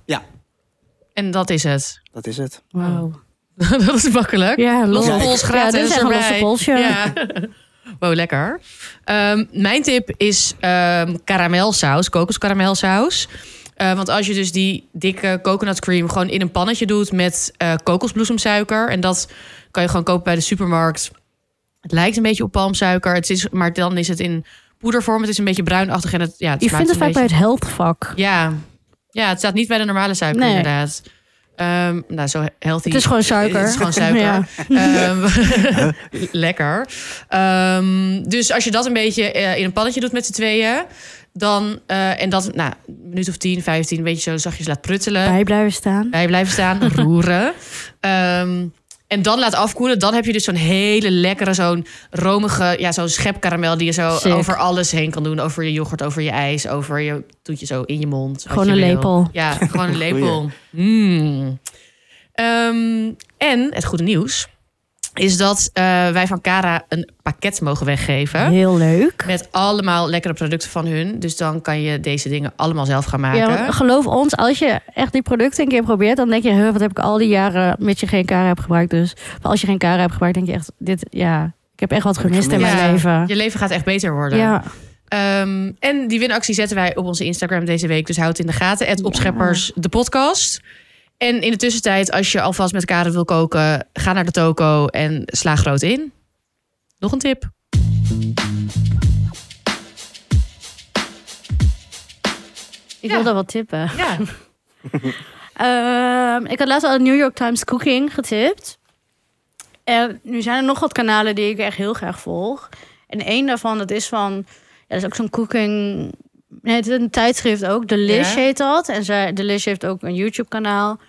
[SPEAKER 1] En dat is het.
[SPEAKER 3] Dat is het.
[SPEAKER 2] Wauw.
[SPEAKER 1] dat is makkelijk.
[SPEAKER 2] Ja,
[SPEAKER 1] Losse
[SPEAKER 3] Ja, ik-
[SPEAKER 1] pols
[SPEAKER 2] Ja,
[SPEAKER 1] gratis
[SPEAKER 2] dit is echt een
[SPEAKER 1] erbij.
[SPEAKER 2] losse polsje.
[SPEAKER 1] Ja. Wow, lekker. Ehm, mijn tip is ehm karamelsaus, kokoskaramelsaus. Eh, want als je dus die dikke coconut cream gewoon in een pannetje doet met eh, kokosbloesemsuiker. En dat kan je gewoon kopen bij de supermarkt. Het lijkt een beetje op palmsuiker. Het is, maar dan is het in poedervorm. Het is een beetje bruinachtig. En het, ja, het
[SPEAKER 2] Je
[SPEAKER 1] smaakt
[SPEAKER 2] vindt het
[SPEAKER 1] een
[SPEAKER 2] vaak bij het heldvak.
[SPEAKER 1] beetje- Ja. ja, het staat niet bij de normale suiker
[SPEAKER 2] Nee.
[SPEAKER 1] inderdaad. Ehm, nou, zo healthy.
[SPEAKER 2] Het is gewoon suiker.
[SPEAKER 1] Het is gewoon suiker.
[SPEAKER 2] Ja.
[SPEAKER 1] Ehm, lekker. Ehm, dus als je dat een beetje eh, in een pannetje doet met z'n tweeën... dan, eh, en dat nou, een minuut of 10, 15, een beetje zo zachtjes laat pruttelen...
[SPEAKER 2] Bij blijven staan.
[SPEAKER 1] bij blijven staan, roeren... Ehm, en dan laat afkoelen, dan heb je dus zo'n hele lekkere, zo'n romige, ja, zo'n schepkaramel die je zo
[SPEAKER 2] Sick.
[SPEAKER 1] over alles heen kan doen. Over je yoghurt, over je ijs, over je doet je zo in je mond. wat
[SPEAKER 2] Gewoon
[SPEAKER 1] je
[SPEAKER 2] een
[SPEAKER 1] wil.
[SPEAKER 2] lepel.
[SPEAKER 1] Ja, gewoon een lepel. Mm. Ehm, en het goede nieuws is dat eh, wij van Cara een pakket mogen weggeven.
[SPEAKER 2] Heel leuk.
[SPEAKER 1] Met allemaal lekkere producten van hun. Dus dan kan je deze dingen allemaal zelf gaan maken.
[SPEAKER 2] Ja, want oh, geloof ons, als je echt die producten een keer probeert, dan denk je, "Huh, wat heb ik al die jaren met je geen kara hebt gebruikt. Dus maar als je geen kara hebt gebruikt, denk je echt, dit, ja, ik heb echt wat
[SPEAKER 3] Heb ik
[SPEAKER 2] gemist in
[SPEAKER 1] gemist.
[SPEAKER 2] mijn
[SPEAKER 1] Ja.
[SPEAKER 2] leven.
[SPEAKER 1] Je leven gaat echt beter worden.
[SPEAKER 2] Ja,
[SPEAKER 1] Ehm, en die winactie zetten wij op onze Instagram deze week. Dus houd het in de gaten. Het opscheppers, de podcast. En in de tussentijd, als je alvast met Karen wil koken... ga naar de toko en sla groot in. Nog een tip.
[SPEAKER 2] ik
[SPEAKER 1] Ja.
[SPEAKER 2] wilde wat tippen.
[SPEAKER 1] Ja.
[SPEAKER 2] Ehm, ik had laatst al het New York Times Cooking getipt. En nu zijn er nog wat kanalen die ik echt heel graag volg. En één daarvan, dat is van... Ja, dat is ook zo'n cooking... Nee, het is een tijdschrift ook. De Lish
[SPEAKER 1] Ja.
[SPEAKER 2] heet dat. En zij, De Lish heeft ook een YouTube-kanaal.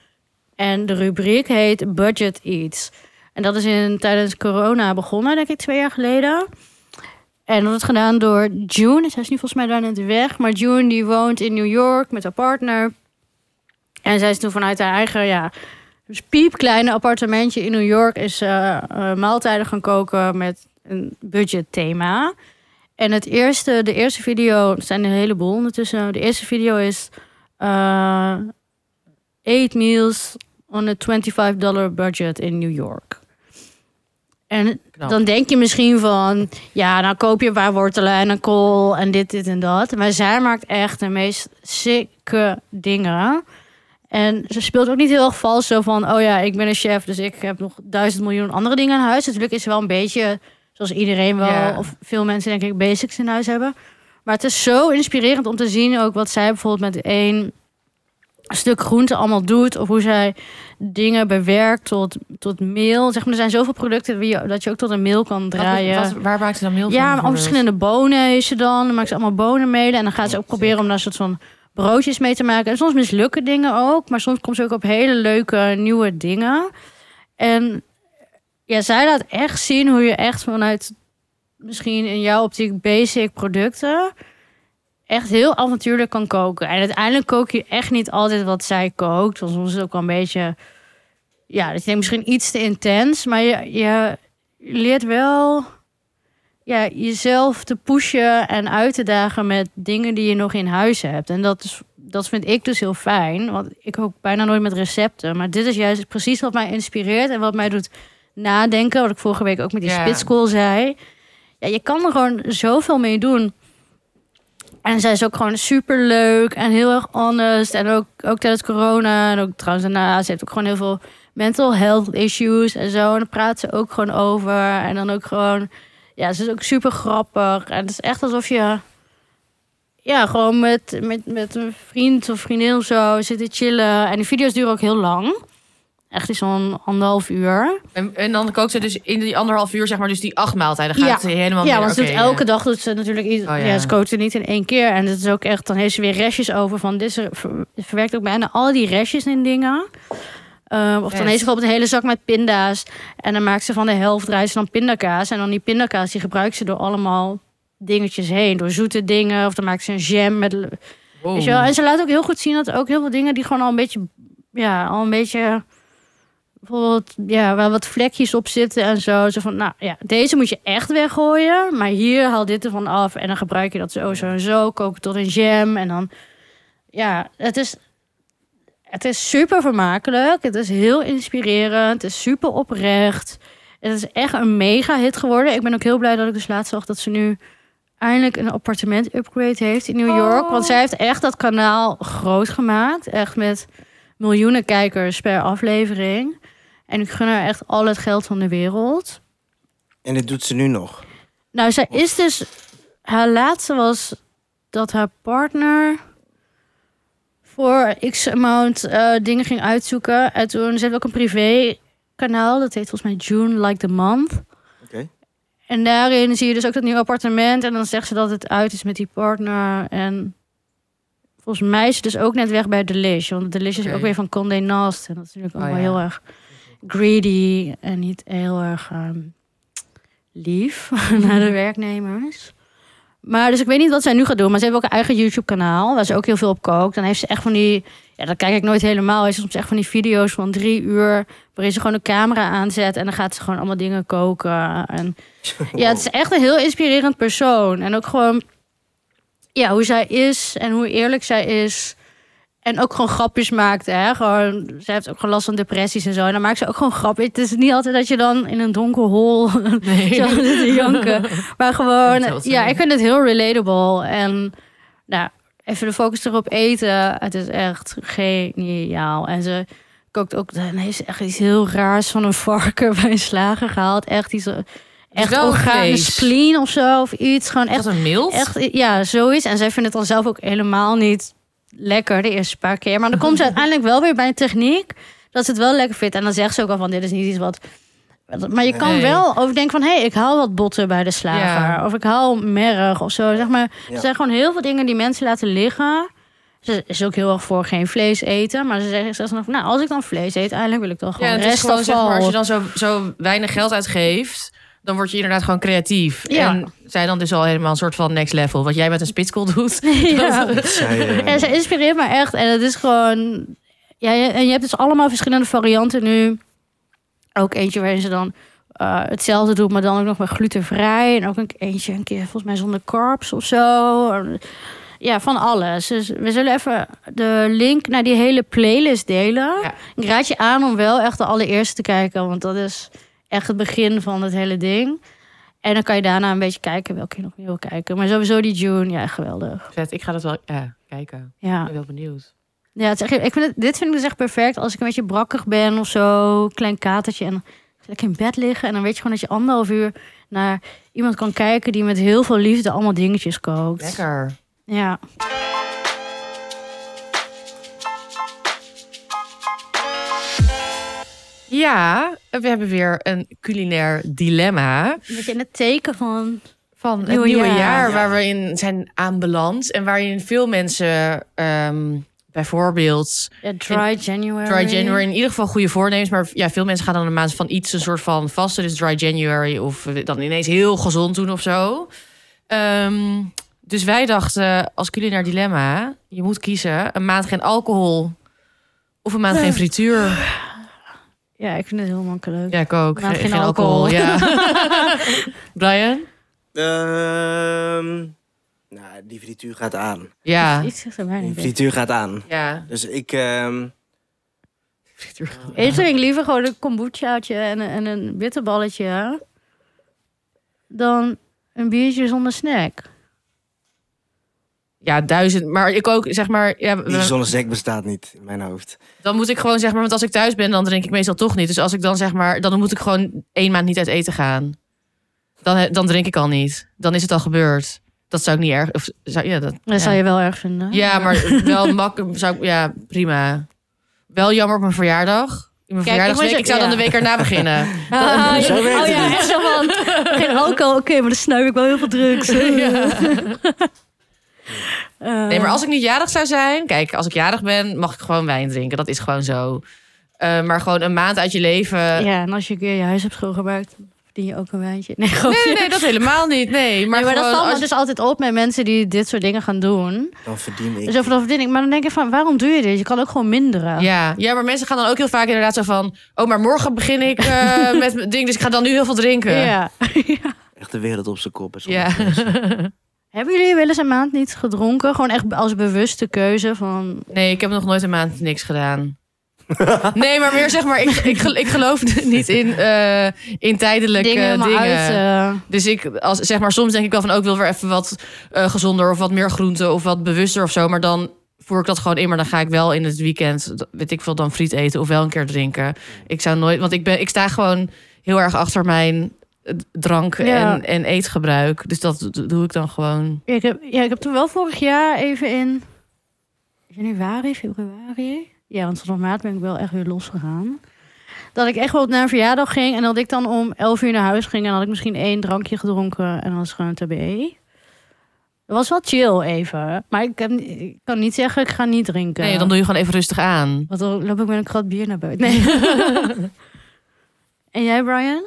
[SPEAKER 2] En de rubriek heet Budget Eats. En dat is in, tijdens corona begonnen, denk ik, twee jaar geleden. En dat is gedaan door June. Zij is nu volgens mij daar net weg. Maar June die woont in New York met haar partner. En zij is toen vanuit haar eigen ja, dus piepkleine appartementje in New York is eh, eh, maaltijden gaan koken met een budgetthema. En het eerste, de eerste video, er zijn er een heleboel ondertussen. De eerste video is eh eight meals on a $25 budget in New York. En
[SPEAKER 1] Knap.
[SPEAKER 2] dan denk je misschien van, ja, nou koop je een paar wortelen en een kool en dit, dit en dat. Maar zij maakt echt de meest sikke dingen. En ze speelt ook niet heel erg vals zo van... oh ja, ik ben een chef, dus ik heb nog duizend miljoen andere dingen in huis. Natuurlijk is ze wel een beetje, zoals iedereen wel...
[SPEAKER 1] Ja.
[SPEAKER 2] of veel mensen denk ik basics in huis hebben. Maar het is zo inspirerend om te zien ook wat zij bijvoorbeeld met één stuk groente allemaal doet... of hoe zij dingen bewerkt tot, tot meel. Zeg maar, er zijn zoveel producten die je- dat je ook tot een meel kan draaien.
[SPEAKER 1] Wat- wat- waar maakt ze dan meel van?
[SPEAKER 2] Ja, maar al
[SPEAKER 1] bijvoorbeeld?
[SPEAKER 2] verschillende bonen heeft ze dan. Dan maakt ze allemaal bonen mee. En dan gaat ze ook proberen om daar een soort van broodjes mee te maken. En soms mislukken dingen ook. Maar soms komt ze ook op hele leuke nieuwe dingen. En ja, zij laat echt zien hoe je echt vanuit misschien in jouw optiek basic producten echt heel avontuurlijk kan koken. En uiteindelijk kook je echt niet altijd wat zij kookt. Want soms is het ook wel een beetje... Ja, dat je denkt misschien iets te intens. Maar je, je leert wel ja, jezelf te pushen en uit te dagen met dingen die je nog in huis hebt. En dat, is, dat vind ik dus heel fijn. Want ik ook bijna nooit met recepten. Maar dit is juist precies wat mij inspireert en wat mij doet nadenken. Wat ik vorige week ook met die
[SPEAKER 1] Ja.
[SPEAKER 2] spitskool zei. Ja, je kan er gewoon zoveel mee doen. En zij is ook gewoon super leuk en heel erg honest. En ook, ook tijdens corona en ook trouwens daarna. Ze heeft ook gewoon heel veel mental health issues en zo. En daar praat ze ook gewoon over. En dan ook gewoon... Ja, ze is ook super grappig. En het is echt alsof je... Ja, gewoon met, met, met een vriend of vriendin of zo zit te chillen. En die video's duren ook heel lang. Echt iets van anderhalf uur.
[SPEAKER 1] En, en dan kookt ze dus in die anderhalf uur, zeg maar, dus die acht maaltijden. Gaat
[SPEAKER 2] Ja.
[SPEAKER 1] ze helemaal
[SPEAKER 2] ja,
[SPEAKER 1] meer-
[SPEAKER 2] want ze
[SPEAKER 1] oké,
[SPEAKER 2] doet elke dag doet ze natuurlijk iets.
[SPEAKER 1] Oh,
[SPEAKER 2] ja.
[SPEAKER 1] ja.
[SPEAKER 2] ze kookt het niet in één keer. En het is ook echt, dan heeft ze weer restjes over van dit. Ze ver- verwerkt ook bijna al die restjes in dingen. Ehm, of dan
[SPEAKER 1] Best.
[SPEAKER 2] heeft ze bijvoorbeeld een hele zak met pinda's. En dan maakt ze van de helft draait ze dan pindakaas. En dan die pindakaas die gebruikt ze door allemaal dingetjes heen. Door zoete dingen. Of dan maakt ze een jam met
[SPEAKER 1] Wow.
[SPEAKER 2] Weet je wel? En ze laat ook heel goed zien dat er ook heel veel dingen die gewoon al een beetje, ja, al een beetje, bijvoorbeeld, ja, waar wat vlekjes op zitten en zo. Zo van, nou ja, deze moet je echt weggooien, maar hier haal dit ervan af en dan gebruik je dat zo, zo en zo, kook het tot een jam en dan, ja, het is, het is super vermakelijk, het is heel inspirerend, het is super oprecht. Het is echt een mega hit geworden. Ik ben ook heel blij dat ik dus laatst zag dat ze nu eindelijk een appartement upgrade heeft in New York. Want zij heeft echt dat kanaal groot gemaakt. Echt met miljoenen kijkers per aflevering. En ik gun haar echt al het geld van de wereld.
[SPEAKER 3] En dit doet ze nu nog.
[SPEAKER 2] Nou, zij is dus... Haar laatste was dat haar partner voor x amount eh, dingen ging uitzoeken. En toen ze heeft ook een privé kanaal. Dat heet volgens mij June Like the Month.
[SPEAKER 3] Oké.
[SPEAKER 2] En daarin zie je dus ook dat nieuwe appartement. En dan zegt ze dat het uit is met die partner. En volgens mij is ze dus ook net weg bij Delish. Want Delish is
[SPEAKER 1] Oké.
[SPEAKER 2] ook weer van Condé Nast. En dat is natuurlijk ook
[SPEAKER 1] Oh,
[SPEAKER 2] wel
[SPEAKER 1] ja.
[SPEAKER 2] heel erg greedy. En niet heel erg ehm, lief naar
[SPEAKER 1] Mhm.
[SPEAKER 2] de werknemers. Maar dus ik weet niet wat zij nu gaat doen. Maar ze heeft ook een eigen YouTube-kanaal. Waar ze ook heel veel op kookt. Dan heeft ze echt van die... Ja, dat kijk ik nooit helemaal. Heeft ze soms echt van die video's van drie uur... waarin ze gewoon een camera aanzet... en dan gaat ze gewoon allemaal dingen koken. En ja, het is echt een heel inspirerend persoon. En ook gewoon ja, hoe zij is en hoe eerlijk zij is. En ook gewoon grapjes maakt. Hè? Gewoon, zij heeft ook gewoon last van depressies en zo. En dan maakt ze ook gewoon grapjes. Het is niet altijd dat je dan in een donker hol
[SPEAKER 1] Nee.
[SPEAKER 2] zo zit te janken. Maar
[SPEAKER 1] Dat
[SPEAKER 2] gewoon,
[SPEAKER 1] was
[SPEAKER 2] ja,
[SPEAKER 1] een-
[SPEAKER 2] ik vind het heel relatable. En nou, even de focus erop eten. Het is echt geniaal. En ze kookt ook, dan heeft ze echt iets heel raars van een varken bij een slager gehaald. Echt iets, echt
[SPEAKER 1] wel
[SPEAKER 2] orgaan,
[SPEAKER 1] vlees.
[SPEAKER 2] spleen of zo, of iets. Gewoon
[SPEAKER 1] Echt
[SPEAKER 2] echt,
[SPEAKER 1] een mild?
[SPEAKER 2] echt, ja, zoiets. En zij vindt het dan zelf ook helemaal niet lekker de eerste paar keer. Maar dan komt ze uiteindelijk wel weer bij een techniek dat ze het wel lekker vindt. En dan zegt ze ook al van, dit is niet iets wat... Maar je kan
[SPEAKER 1] Nee.
[SPEAKER 2] wel overdenken van, hé, hey, ik haal wat botten bij de slager.
[SPEAKER 1] Ja.
[SPEAKER 2] Of ik haal merg of zo. Zeg maar,
[SPEAKER 3] Ja.
[SPEAKER 2] Er zijn gewoon heel veel dingen die mensen laten liggen. Ze is ook heel erg voor geen vlees eten. Maar ze zegt zelfs nog, van, nou, als ik dan vlees eet, eigenlijk wil ik dan gewoon
[SPEAKER 1] Ja, het is
[SPEAKER 2] restafval.
[SPEAKER 1] gewoon, zeg maar, als je dan zo, zo weinig geld uitgeeft, dan word je inderdaad gewoon creatief.
[SPEAKER 2] Ja.
[SPEAKER 1] En zij dan dus al helemaal een soort van next level. Wat jij met een spitskool doet.
[SPEAKER 2] ja.
[SPEAKER 3] Zij, eh,
[SPEAKER 2] En ze inspireert me echt. En het is gewoon... Ja, je- en je hebt dus allemaal verschillende varianten nu. Ook eentje waarin ze dan eh, hetzelfde doen, maar dan ook nog maar glutenvrij. En ook een eentje een keer volgens mij zonder carbs of zo. Ja, van alles. Dus we zullen even de link naar die hele playlist delen.
[SPEAKER 1] Ja.
[SPEAKER 2] Ik raad je aan om wel echt de allereerste te kijken, want dat is echt het begin van het hele ding. En dan kan je daarna een beetje kijken welke je nog meer wil kijken. Maar sowieso die June, ja, geweldig.
[SPEAKER 1] Vet, ik ga dat wel ja, kijken.
[SPEAKER 2] Ja.
[SPEAKER 1] Ik ben wel benieuwd.
[SPEAKER 2] Ja, het is echt- ik vind het, dit vind ik dus echt perfect als ik een beetje brakkig ben of zo. Klein katertje en lekker in bed liggen. En dan weet je gewoon dat je anderhalf uur naar iemand kan kijken die met heel veel liefde allemaal dingetjes kookt.
[SPEAKER 1] Lekker.
[SPEAKER 2] Ja.
[SPEAKER 1] Ja, we hebben weer een culinair dilemma
[SPEAKER 2] Een beetje in het teken van.
[SPEAKER 1] van het
[SPEAKER 2] Nieuwe
[SPEAKER 1] nieuwe,
[SPEAKER 2] jaar.
[SPEAKER 1] jaar,
[SPEAKER 3] Ja.
[SPEAKER 1] waar we in zijn aanbeland en waarin veel mensen ehm, bijvoorbeeld
[SPEAKER 2] Ja, dry January.
[SPEAKER 1] Dry January in ieder geval goede voornemens, maar ja, veel mensen gaan dan een maand van iets een soort van vasten, dus Dry January of eh, dan ineens heel gezond doen of zo. Ehm, dus wij dachten als culinair dilemma, je moet kiezen een maand geen alcohol of een maand geen frituur.
[SPEAKER 2] Ja, ik vind het heel makkelijk.
[SPEAKER 1] Ja, ik ook.
[SPEAKER 2] Een maand geen alcohol.
[SPEAKER 1] ja. Brian?
[SPEAKER 3] Ehm, nou, die frituur gaat aan.
[SPEAKER 1] Ja.
[SPEAKER 2] Iets zegt er mij
[SPEAKER 3] Die
[SPEAKER 2] niet bij.
[SPEAKER 3] frituur gaat aan.
[SPEAKER 1] Ja.
[SPEAKER 3] Dus ik... ehm,
[SPEAKER 2] Eerst drink ik liever gewoon een kombuchaatje en, een- en een bitterballetje. Dan een biertje zonder snack.
[SPEAKER 1] Ja, duizend. Maar ik ook, zeg maar... Ja,
[SPEAKER 3] die
[SPEAKER 1] we-
[SPEAKER 3] zonnesnack bestaat niet in mijn hoofd.
[SPEAKER 1] dan moet ik gewoon, zeg maar... Want als ik thuis ben, dan drink ik meestal toch niet. Dus als ik dan, zeg maar... Dan moet ik gewoon één maand niet uit eten gaan. Dan, he- dan drink ik al niet. Dan is het al gebeurd. Dat zou ik niet erg... Of, zou, ja, dat,
[SPEAKER 2] Dat zou je wel erg vinden.
[SPEAKER 1] ja, maar wel makkelijk. Zou, ik- ja, prima. Wel jammer op mijn verjaardag. In mijn
[SPEAKER 2] Kijk, ik
[SPEAKER 1] verjaardagsweek. Ik,
[SPEAKER 2] moet je-
[SPEAKER 1] zou dan
[SPEAKER 2] ja.
[SPEAKER 1] de week erna beginnen.
[SPEAKER 2] Ah,
[SPEAKER 3] Zo
[SPEAKER 2] ja.
[SPEAKER 3] werkt
[SPEAKER 2] oh
[SPEAKER 3] het
[SPEAKER 2] ja,
[SPEAKER 3] niet.
[SPEAKER 2] echt zo van. Geen alcohol, oké, maar dan snuif ik wel heel veel drugs. Eh,
[SPEAKER 1] Nee, maar als ik niet jarig zou zijn, kijk, als ik jarig ben, mag ik gewoon wijn drinken. Dat is gewoon zo. Eh, maar gewoon een maand uit je leven. Nee,
[SPEAKER 2] Ja, en als je een keer je huis hebt schoongemaakt, dan verdien je ook een wijntje. Nee, gewoon-
[SPEAKER 1] nee, nee, dat helemaal niet. Nee, maar,
[SPEAKER 2] Nee, maar dat
[SPEAKER 1] gewoon
[SPEAKER 2] valt me
[SPEAKER 1] als-
[SPEAKER 2] dus altijd op met mensen die dit soort dingen gaan doen. Dus
[SPEAKER 3] Dan verdien ik...
[SPEAKER 2] Zo van, dat verdien ik. Maar dan denk ik van, waarom doe je dit? Je kan ook gewoon minderen.
[SPEAKER 1] ja. ja, maar mensen gaan dan ook heel vaak inderdaad zo van... Oh, maar morgen begin ik eh, met mijn ding, dus ik ga dan nu heel veel drinken.
[SPEAKER 2] Ja.
[SPEAKER 3] Echt de wereld op zijn kop. en sommige
[SPEAKER 1] Ja.
[SPEAKER 3] mensen.
[SPEAKER 2] Hebben jullie wel eens een maand niet gedronken? Gewoon echt als bewuste keuze van...
[SPEAKER 1] Nee, ik heb nog nooit een maand niks gedaan. Nee, maar meer zeg maar, ik, ik, gel- ik geloof niet in, eh, in tijdelijke
[SPEAKER 2] dingen
[SPEAKER 1] dingen.
[SPEAKER 2] helemaal uit... eh,
[SPEAKER 1] Dus ik, als, zeg maar, soms denk ik wel van ook wil weer even wat eh, gezonder of wat meer groente of wat bewuster of zo. Maar dan voer ik dat gewoon in. Maar dan ga ik wel in het weekend, d- weet ik veel, dan friet eten of wel een keer drinken. Ik zou nooit, want ik, ben, ik sta gewoon heel erg achter mijn eh, drank
[SPEAKER 2] Ja.
[SPEAKER 1] en, en eetgebruik. Dus dat d- doe ik dan gewoon.
[SPEAKER 2] Ja, ik heb, ja, ik heb toen wel vorig jaar even in januari, februari. Ja, want vanaf maart ben ik wel echt weer losgegaan. Dat ik echt wel naar een verjaardag ging en dat ik dan om 11 uur naar huis ging en dan had ik misschien één drankje gedronken en dan was het gewoon TBE. Dat was wel chill even, maar ik, heb, ni- ik kan niet zeggen ik ga niet drinken.
[SPEAKER 1] Nee, dan doe je gewoon even rustig aan.
[SPEAKER 2] Want dan loop ik met een krat bier naar buiten. en jij Brian?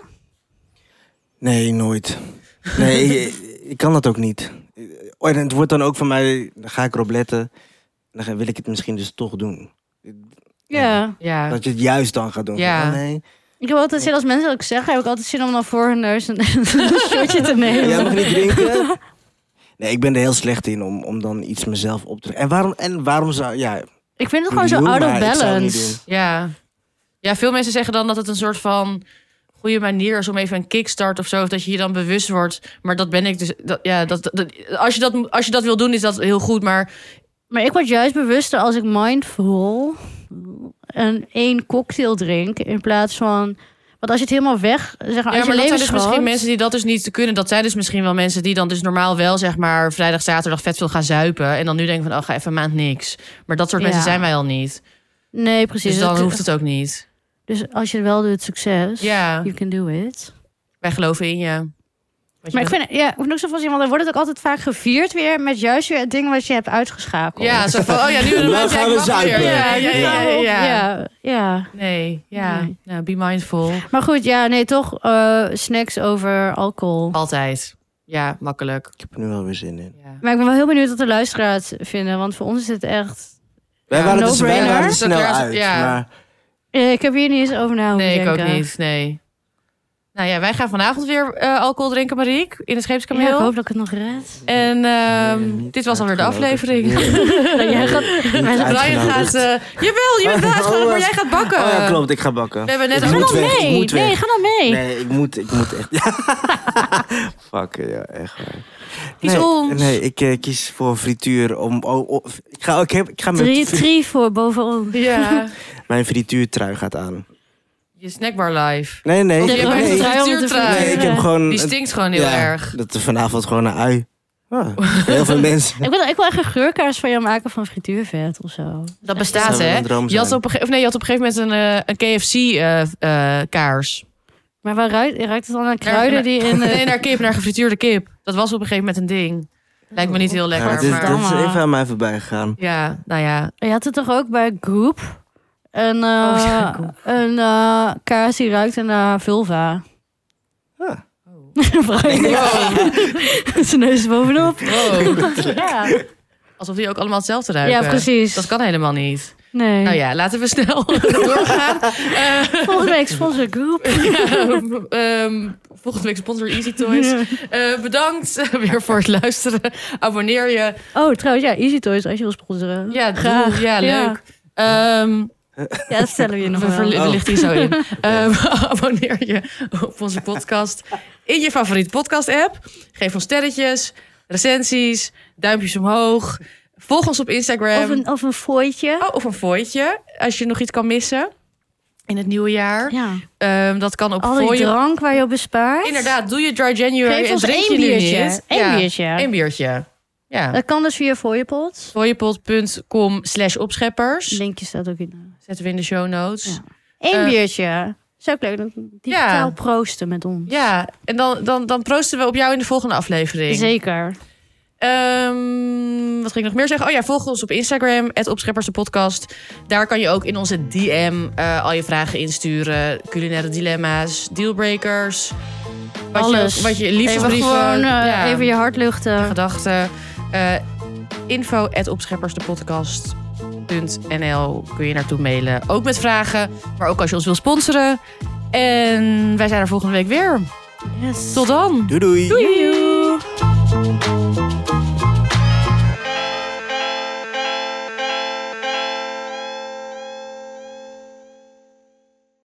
[SPEAKER 3] Nee, nooit. Nee, ik, ik kan dat ook niet. Oh, en het wordt dan ook van mij... Dan ga ik erop letten. Dan ga- wil ik het misschien dus toch doen. Ja.
[SPEAKER 1] Ja.
[SPEAKER 3] Dat je het juist dan gaat doen.
[SPEAKER 1] Ja.
[SPEAKER 3] Van, oh, nee,
[SPEAKER 2] Ik heb altijd zin als mensen dat ik zeg, heb ik altijd zin om dan voor hun neus een, een shotje te nemen.
[SPEAKER 3] Jij mag niet drinken. Nee, ik ben er heel slecht in om, om dan iets mezelf op te... En waarom, en waarom zou... Ja,
[SPEAKER 2] Ik vind het gewoon zo
[SPEAKER 3] doe,
[SPEAKER 2] out of
[SPEAKER 3] maar ik zou het niet
[SPEAKER 2] balance.
[SPEAKER 3] doen.
[SPEAKER 1] Ja. ja, veel mensen zeggen dan dat het een soort van goede manier is om even een kickstart of zo, of dat je je dan bewust wordt. Maar dat ben ik dus. Dat, ja, dat, dat, als, je dat, als je dat wil doen, is dat heel goed. Maar
[SPEAKER 2] Maar ik word juist bewuster als ik mindful een één cocktail drink in plaats van. Want als je het helemaal weg, zeg maar,
[SPEAKER 1] ja,
[SPEAKER 2] als
[SPEAKER 1] maar
[SPEAKER 2] je
[SPEAKER 1] dat
[SPEAKER 2] leven
[SPEAKER 1] zijn dus misschien mensen die dat dus niet kunnen. Dat zijn dus misschien wel mensen die dan dus normaal wel zeg maar vrijdag, zaterdag vet wil gaan zuipen. En dan nu denken van, oh, ga even een maand niks. Maar dat soort
[SPEAKER 2] Ja.
[SPEAKER 1] mensen zijn wij al niet.
[SPEAKER 2] Nee, precies.
[SPEAKER 1] Dus dan
[SPEAKER 2] Dat-
[SPEAKER 1] hoeft het ook niet.
[SPEAKER 2] dus als je het wel doet, succes.
[SPEAKER 1] Ja,
[SPEAKER 2] You can do it.
[SPEAKER 1] wij geloven in je. Wat je
[SPEAKER 2] Maar ik
[SPEAKER 1] bent-
[SPEAKER 2] vind, ja, ik vind het ook zo van zien, want dan wordt het ook altijd vaak gevierd weer met juist weer het ding wat je hebt uitgeschakeld.
[SPEAKER 1] Ja, zo van, oh ja, nu
[SPEAKER 3] Nou
[SPEAKER 1] ja, ik
[SPEAKER 3] gaan we
[SPEAKER 1] mag weer.
[SPEAKER 3] zuipen.
[SPEAKER 1] Ja, ja, ja, ja, ja.
[SPEAKER 2] ja, ja.
[SPEAKER 1] Nee, ja.
[SPEAKER 2] Nee.
[SPEAKER 1] Nou, be mindful.
[SPEAKER 2] Maar goed, ja, nee, toch eh, snacks over alcohol.
[SPEAKER 1] Altijd. Ja, makkelijk.
[SPEAKER 3] ik heb er nu wel weer zin in.
[SPEAKER 1] Ja.
[SPEAKER 2] Maar ik ben wel heel benieuwd wat de luisteraars vinden. Want voor ons is het echt
[SPEAKER 3] Wij
[SPEAKER 1] Ja,
[SPEAKER 3] waren er
[SPEAKER 2] no-brainer.
[SPEAKER 3] wij waren er
[SPEAKER 1] Dat is ook
[SPEAKER 3] snel
[SPEAKER 1] weer als-
[SPEAKER 3] uit.
[SPEAKER 1] ja.
[SPEAKER 3] Maar
[SPEAKER 2] Eh, ik heb hier niet eens over na hoeven
[SPEAKER 1] Nee, ik ook
[SPEAKER 2] denken.
[SPEAKER 1] niet. Nee. Nou ja, wij gaan vanavond weer eh, alcohol drinken, Mariek. In de scheepskameel.
[SPEAKER 2] Ja, ik hoop dat ik het nog red.
[SPEAKER 1] En ehm,
[SPEAKER 3] Nee, niet
[SPEAKER 1] dit was alweer de
[SPEAKER 3] uitgenodigd.
[SPEAKER 1] aflevering.
[SPEAKER 2] Dat jij gaat-
[SPEAKER 1] Brian gaat... eh, jawel, je bent
[SPEAKER 3] Oh,
[SPEAKER 1] uitgenodigd, maar jij gaat bakken.
[SPEAKER 3] Oh ja, klopt. Ik ga bakken.
[SPEAKER 1] We hebben net
[SPEAKER 3] Ik
[SPEAKER 2] Ga
[SPEAKER 1] al-
[SPEAKER 3] moet
[SPEAKER 2] dan
[SPEAKER 3] weg, ik
[SPEAKER 2] mee.
[SPEAKER 3] moet
[SPEAKER 2] Nee,
[SPEAKER 3] weg.
[SPEAKER 2] ga dan mee.
[SPEAKER 3] Nee, ik moet, ik moet echt. Fuck, ja, echt waar.
[SPEAKER 1] Kies
[SPEAKER 3] nee,
[SPEAKER 1] ons.
[SPEAKER 3] Nee, ik eh, kies voor frituur. Om, oh, oh, ik ga, ik heb, ik ga
[SPEAKER 2] Drie,
[SPEAKER 3] mijn, fri-
[SPEAKER 2] drie voor bovenop.
[SPEAKER 1] Ja,
[SPEAKER 3] mijn frituurtrui gaat aan.
[SPEAKER 1] je snackbar live.
[SPEAKER 3] Nee, nee.
[SPEAKER 1] je
[SPEAKER 3] nee,
[SPEAKER 1] hebt echt
[SPEAKER 3] nee,
[SPEAKER 1] een trui.
[SPEAKER 3] nee, ik heb gewoon...
[SPEAKER 1] Die stinkt gewoon heel
[SPEAKER 3] ja,
[SPEAKER 1] erg.
[SPEAKER 3] Dat er vanavond gewoon een ui. Ah, heel veel mensen.
[SPEAKER 2] Ik wil, ik wil echt een geurkaars van jou maken van frituurvet of zo.
[SPEAKER 1] Dat bestaat,
[SPEAKER 3] Zou wel
[SPEAKER 1] hè?
[SPEAKER 3] een droom
[SPEAKER 1] Je had,
[SPEAKER 3] zijn.
[SPEAKER 1] op een ge- of nee, je had op een gegeven moment een, eh, een KFC-kaars.
[SPEAKER 2] Maar waar ruikt, ruikt het dan aan kruiden die in... eh,
[SPEAKER 1] nee, naar kip, naar gefrituurde kip. Dat was op een gegeven moment een ding. Lijkt me niet heel
[SPEAKER 3] Ja,
[SPEAKER 1] lekker,
[SPEAKER 3] maar dit,
[SPEAKER 1] maar...
[SPEAKER 3] dit is
[SPEAKER 2] Verdamme.
[SPEAKER 3] even aan mij voorbij gegaan.
[SPEAKER 1] Ja, nou ja.
[SPEAKER 2] Je had het toch ook bij Goop? Een, eh,
[SPEAKER 1] Oh ja, Goop.
[SPEAKER 2] een eh, kaas die ruikt naar vulva.
[SPEAKER 3] Ah.
[SPEAKER 2] Brian
[SPEAKER 3] Oh.
[SPEAKER 2] zijn neus bovenop.
[SPEAKER 1] Wow.
[SPEAKER 2] Ja,
[SPEAKER 1] Alsof die ook allemaal hetzelfde ruiken.
[SPEAKER 2] ja precies.
[SPEAKER 1] Dat kan helemaal niet.
[SPEAKER 2] Nee.
[SPEAKER 1] Nou ja, laten we snel doorgaan. Eh,
[SPEAKER 2] Volgende week sponsor Goop.
[SPEAKER 1] ja, ehm, volgende week sponsor Easy Toys. Eh, bedankt eh, weer voor het luisteren. Abonneer je.
[SPEAKER 2] Oh, trouwens, ja, Easy Toys als je wil sponsoren.
[SPEAKER 1] Ja, doe.
[SPEAKER 2] graag.
[SPEAKER 1] Ja, leuk. Ehm,
[SPEAKER 2] Ja, dat stellen we je nog
[SPEAKER 1] we verli-
[SPEAKER 2] wel.
[SPEAKER 1] er
[SPEAKER 3] Oh.
[SPEAKER 1] ligt hier zo in. Ehm, abonneer je op onze podcast in je favoriete podcast-app. Geef ons sterretjes, recensies, duimpjes omhoog. Volg ons op Instagram.
[SPEAKER 2] Of een, of een fooitje.
[SPEAKER 1] Oh, of een voidje, als je nog iets kan missen in het nieuwe jaar.
[SPEAKER 2] Ja.
[SPEAKER 1] Ehm, dat kan op
[SPEAKER 2] Al die
[SPEAKER 1] fooien.
[SPEAKER 2] drank waar je op bespaart.
[SPEAKER 1] Inderdaad, doe je dry January
[SPEAKER 2] Geef
[SPEAKER 1] en
[SPEAKER 2] ons
[SPEAKER 1] drink
[SPEAKER 2] één
[SPEAKER 1] je nu
[SPEAKER 2] biertje.
[SPEAKER 1] niet.
[SPEAKER 2] Eén
[SPEAKER 1] ja,
[SPEAKER 2] biertje.
[SPEAKER 1] één biertje. Ja.
[SPEAKER 2] Dat kan dus via fooiepot.
[SPEAKER 1] Fooiepot.com slash opscheppers.
[SPEAKER 2] Linkje staat ook in de...
[SPEAKER 1] Zetten we in de show notes.
[SPEAKER 2] Ja.
[SPEAKER 1] Ja,
[SPEAKER 2] Eén
[SPEAKER 1] Eh,
[SPEAKER 2] biertje. Zou ik leuk doen. Digitaal proosten met ons.
[SPEAKER 1] en dan, dan, dan proosten we op jou in de volgende aflevering.
[SPEAKER 2] Zeker.
[SPEAKER 1] Ehm, wat ging ik nog meer zeggen? Oh ja, volg ons op Instagram, het Opscheppers de Podcast. Daar kan je ook in onze DM eh, al je vragen insturen. Culinaire dilemma's, dealbreakers. Wat
[SPEAKER 2] Alles.
[SPEAKER 1] Je, wat je
[SPEAKER 2] Even
[SPEAKER 1] liefdesbrieven.
[SPEAKER 2] gewoon eh,
[SPEAKER 1] ja,
[SPEAKER 2] even je hart luchten.
[SPEAKER 1] gedachten. eh info at opscheppersdepodcast.nl kun je naartoe mailen. Ook met vragen, maar ook als je ons wil sponsoren. En wij zijn er volgende week weer.
[SPEAKER 2] Yes.
[SPEAKER 1] Tot dan!
[SPEAKER 3] Doei doei.
[SPEAKER 2] Doei.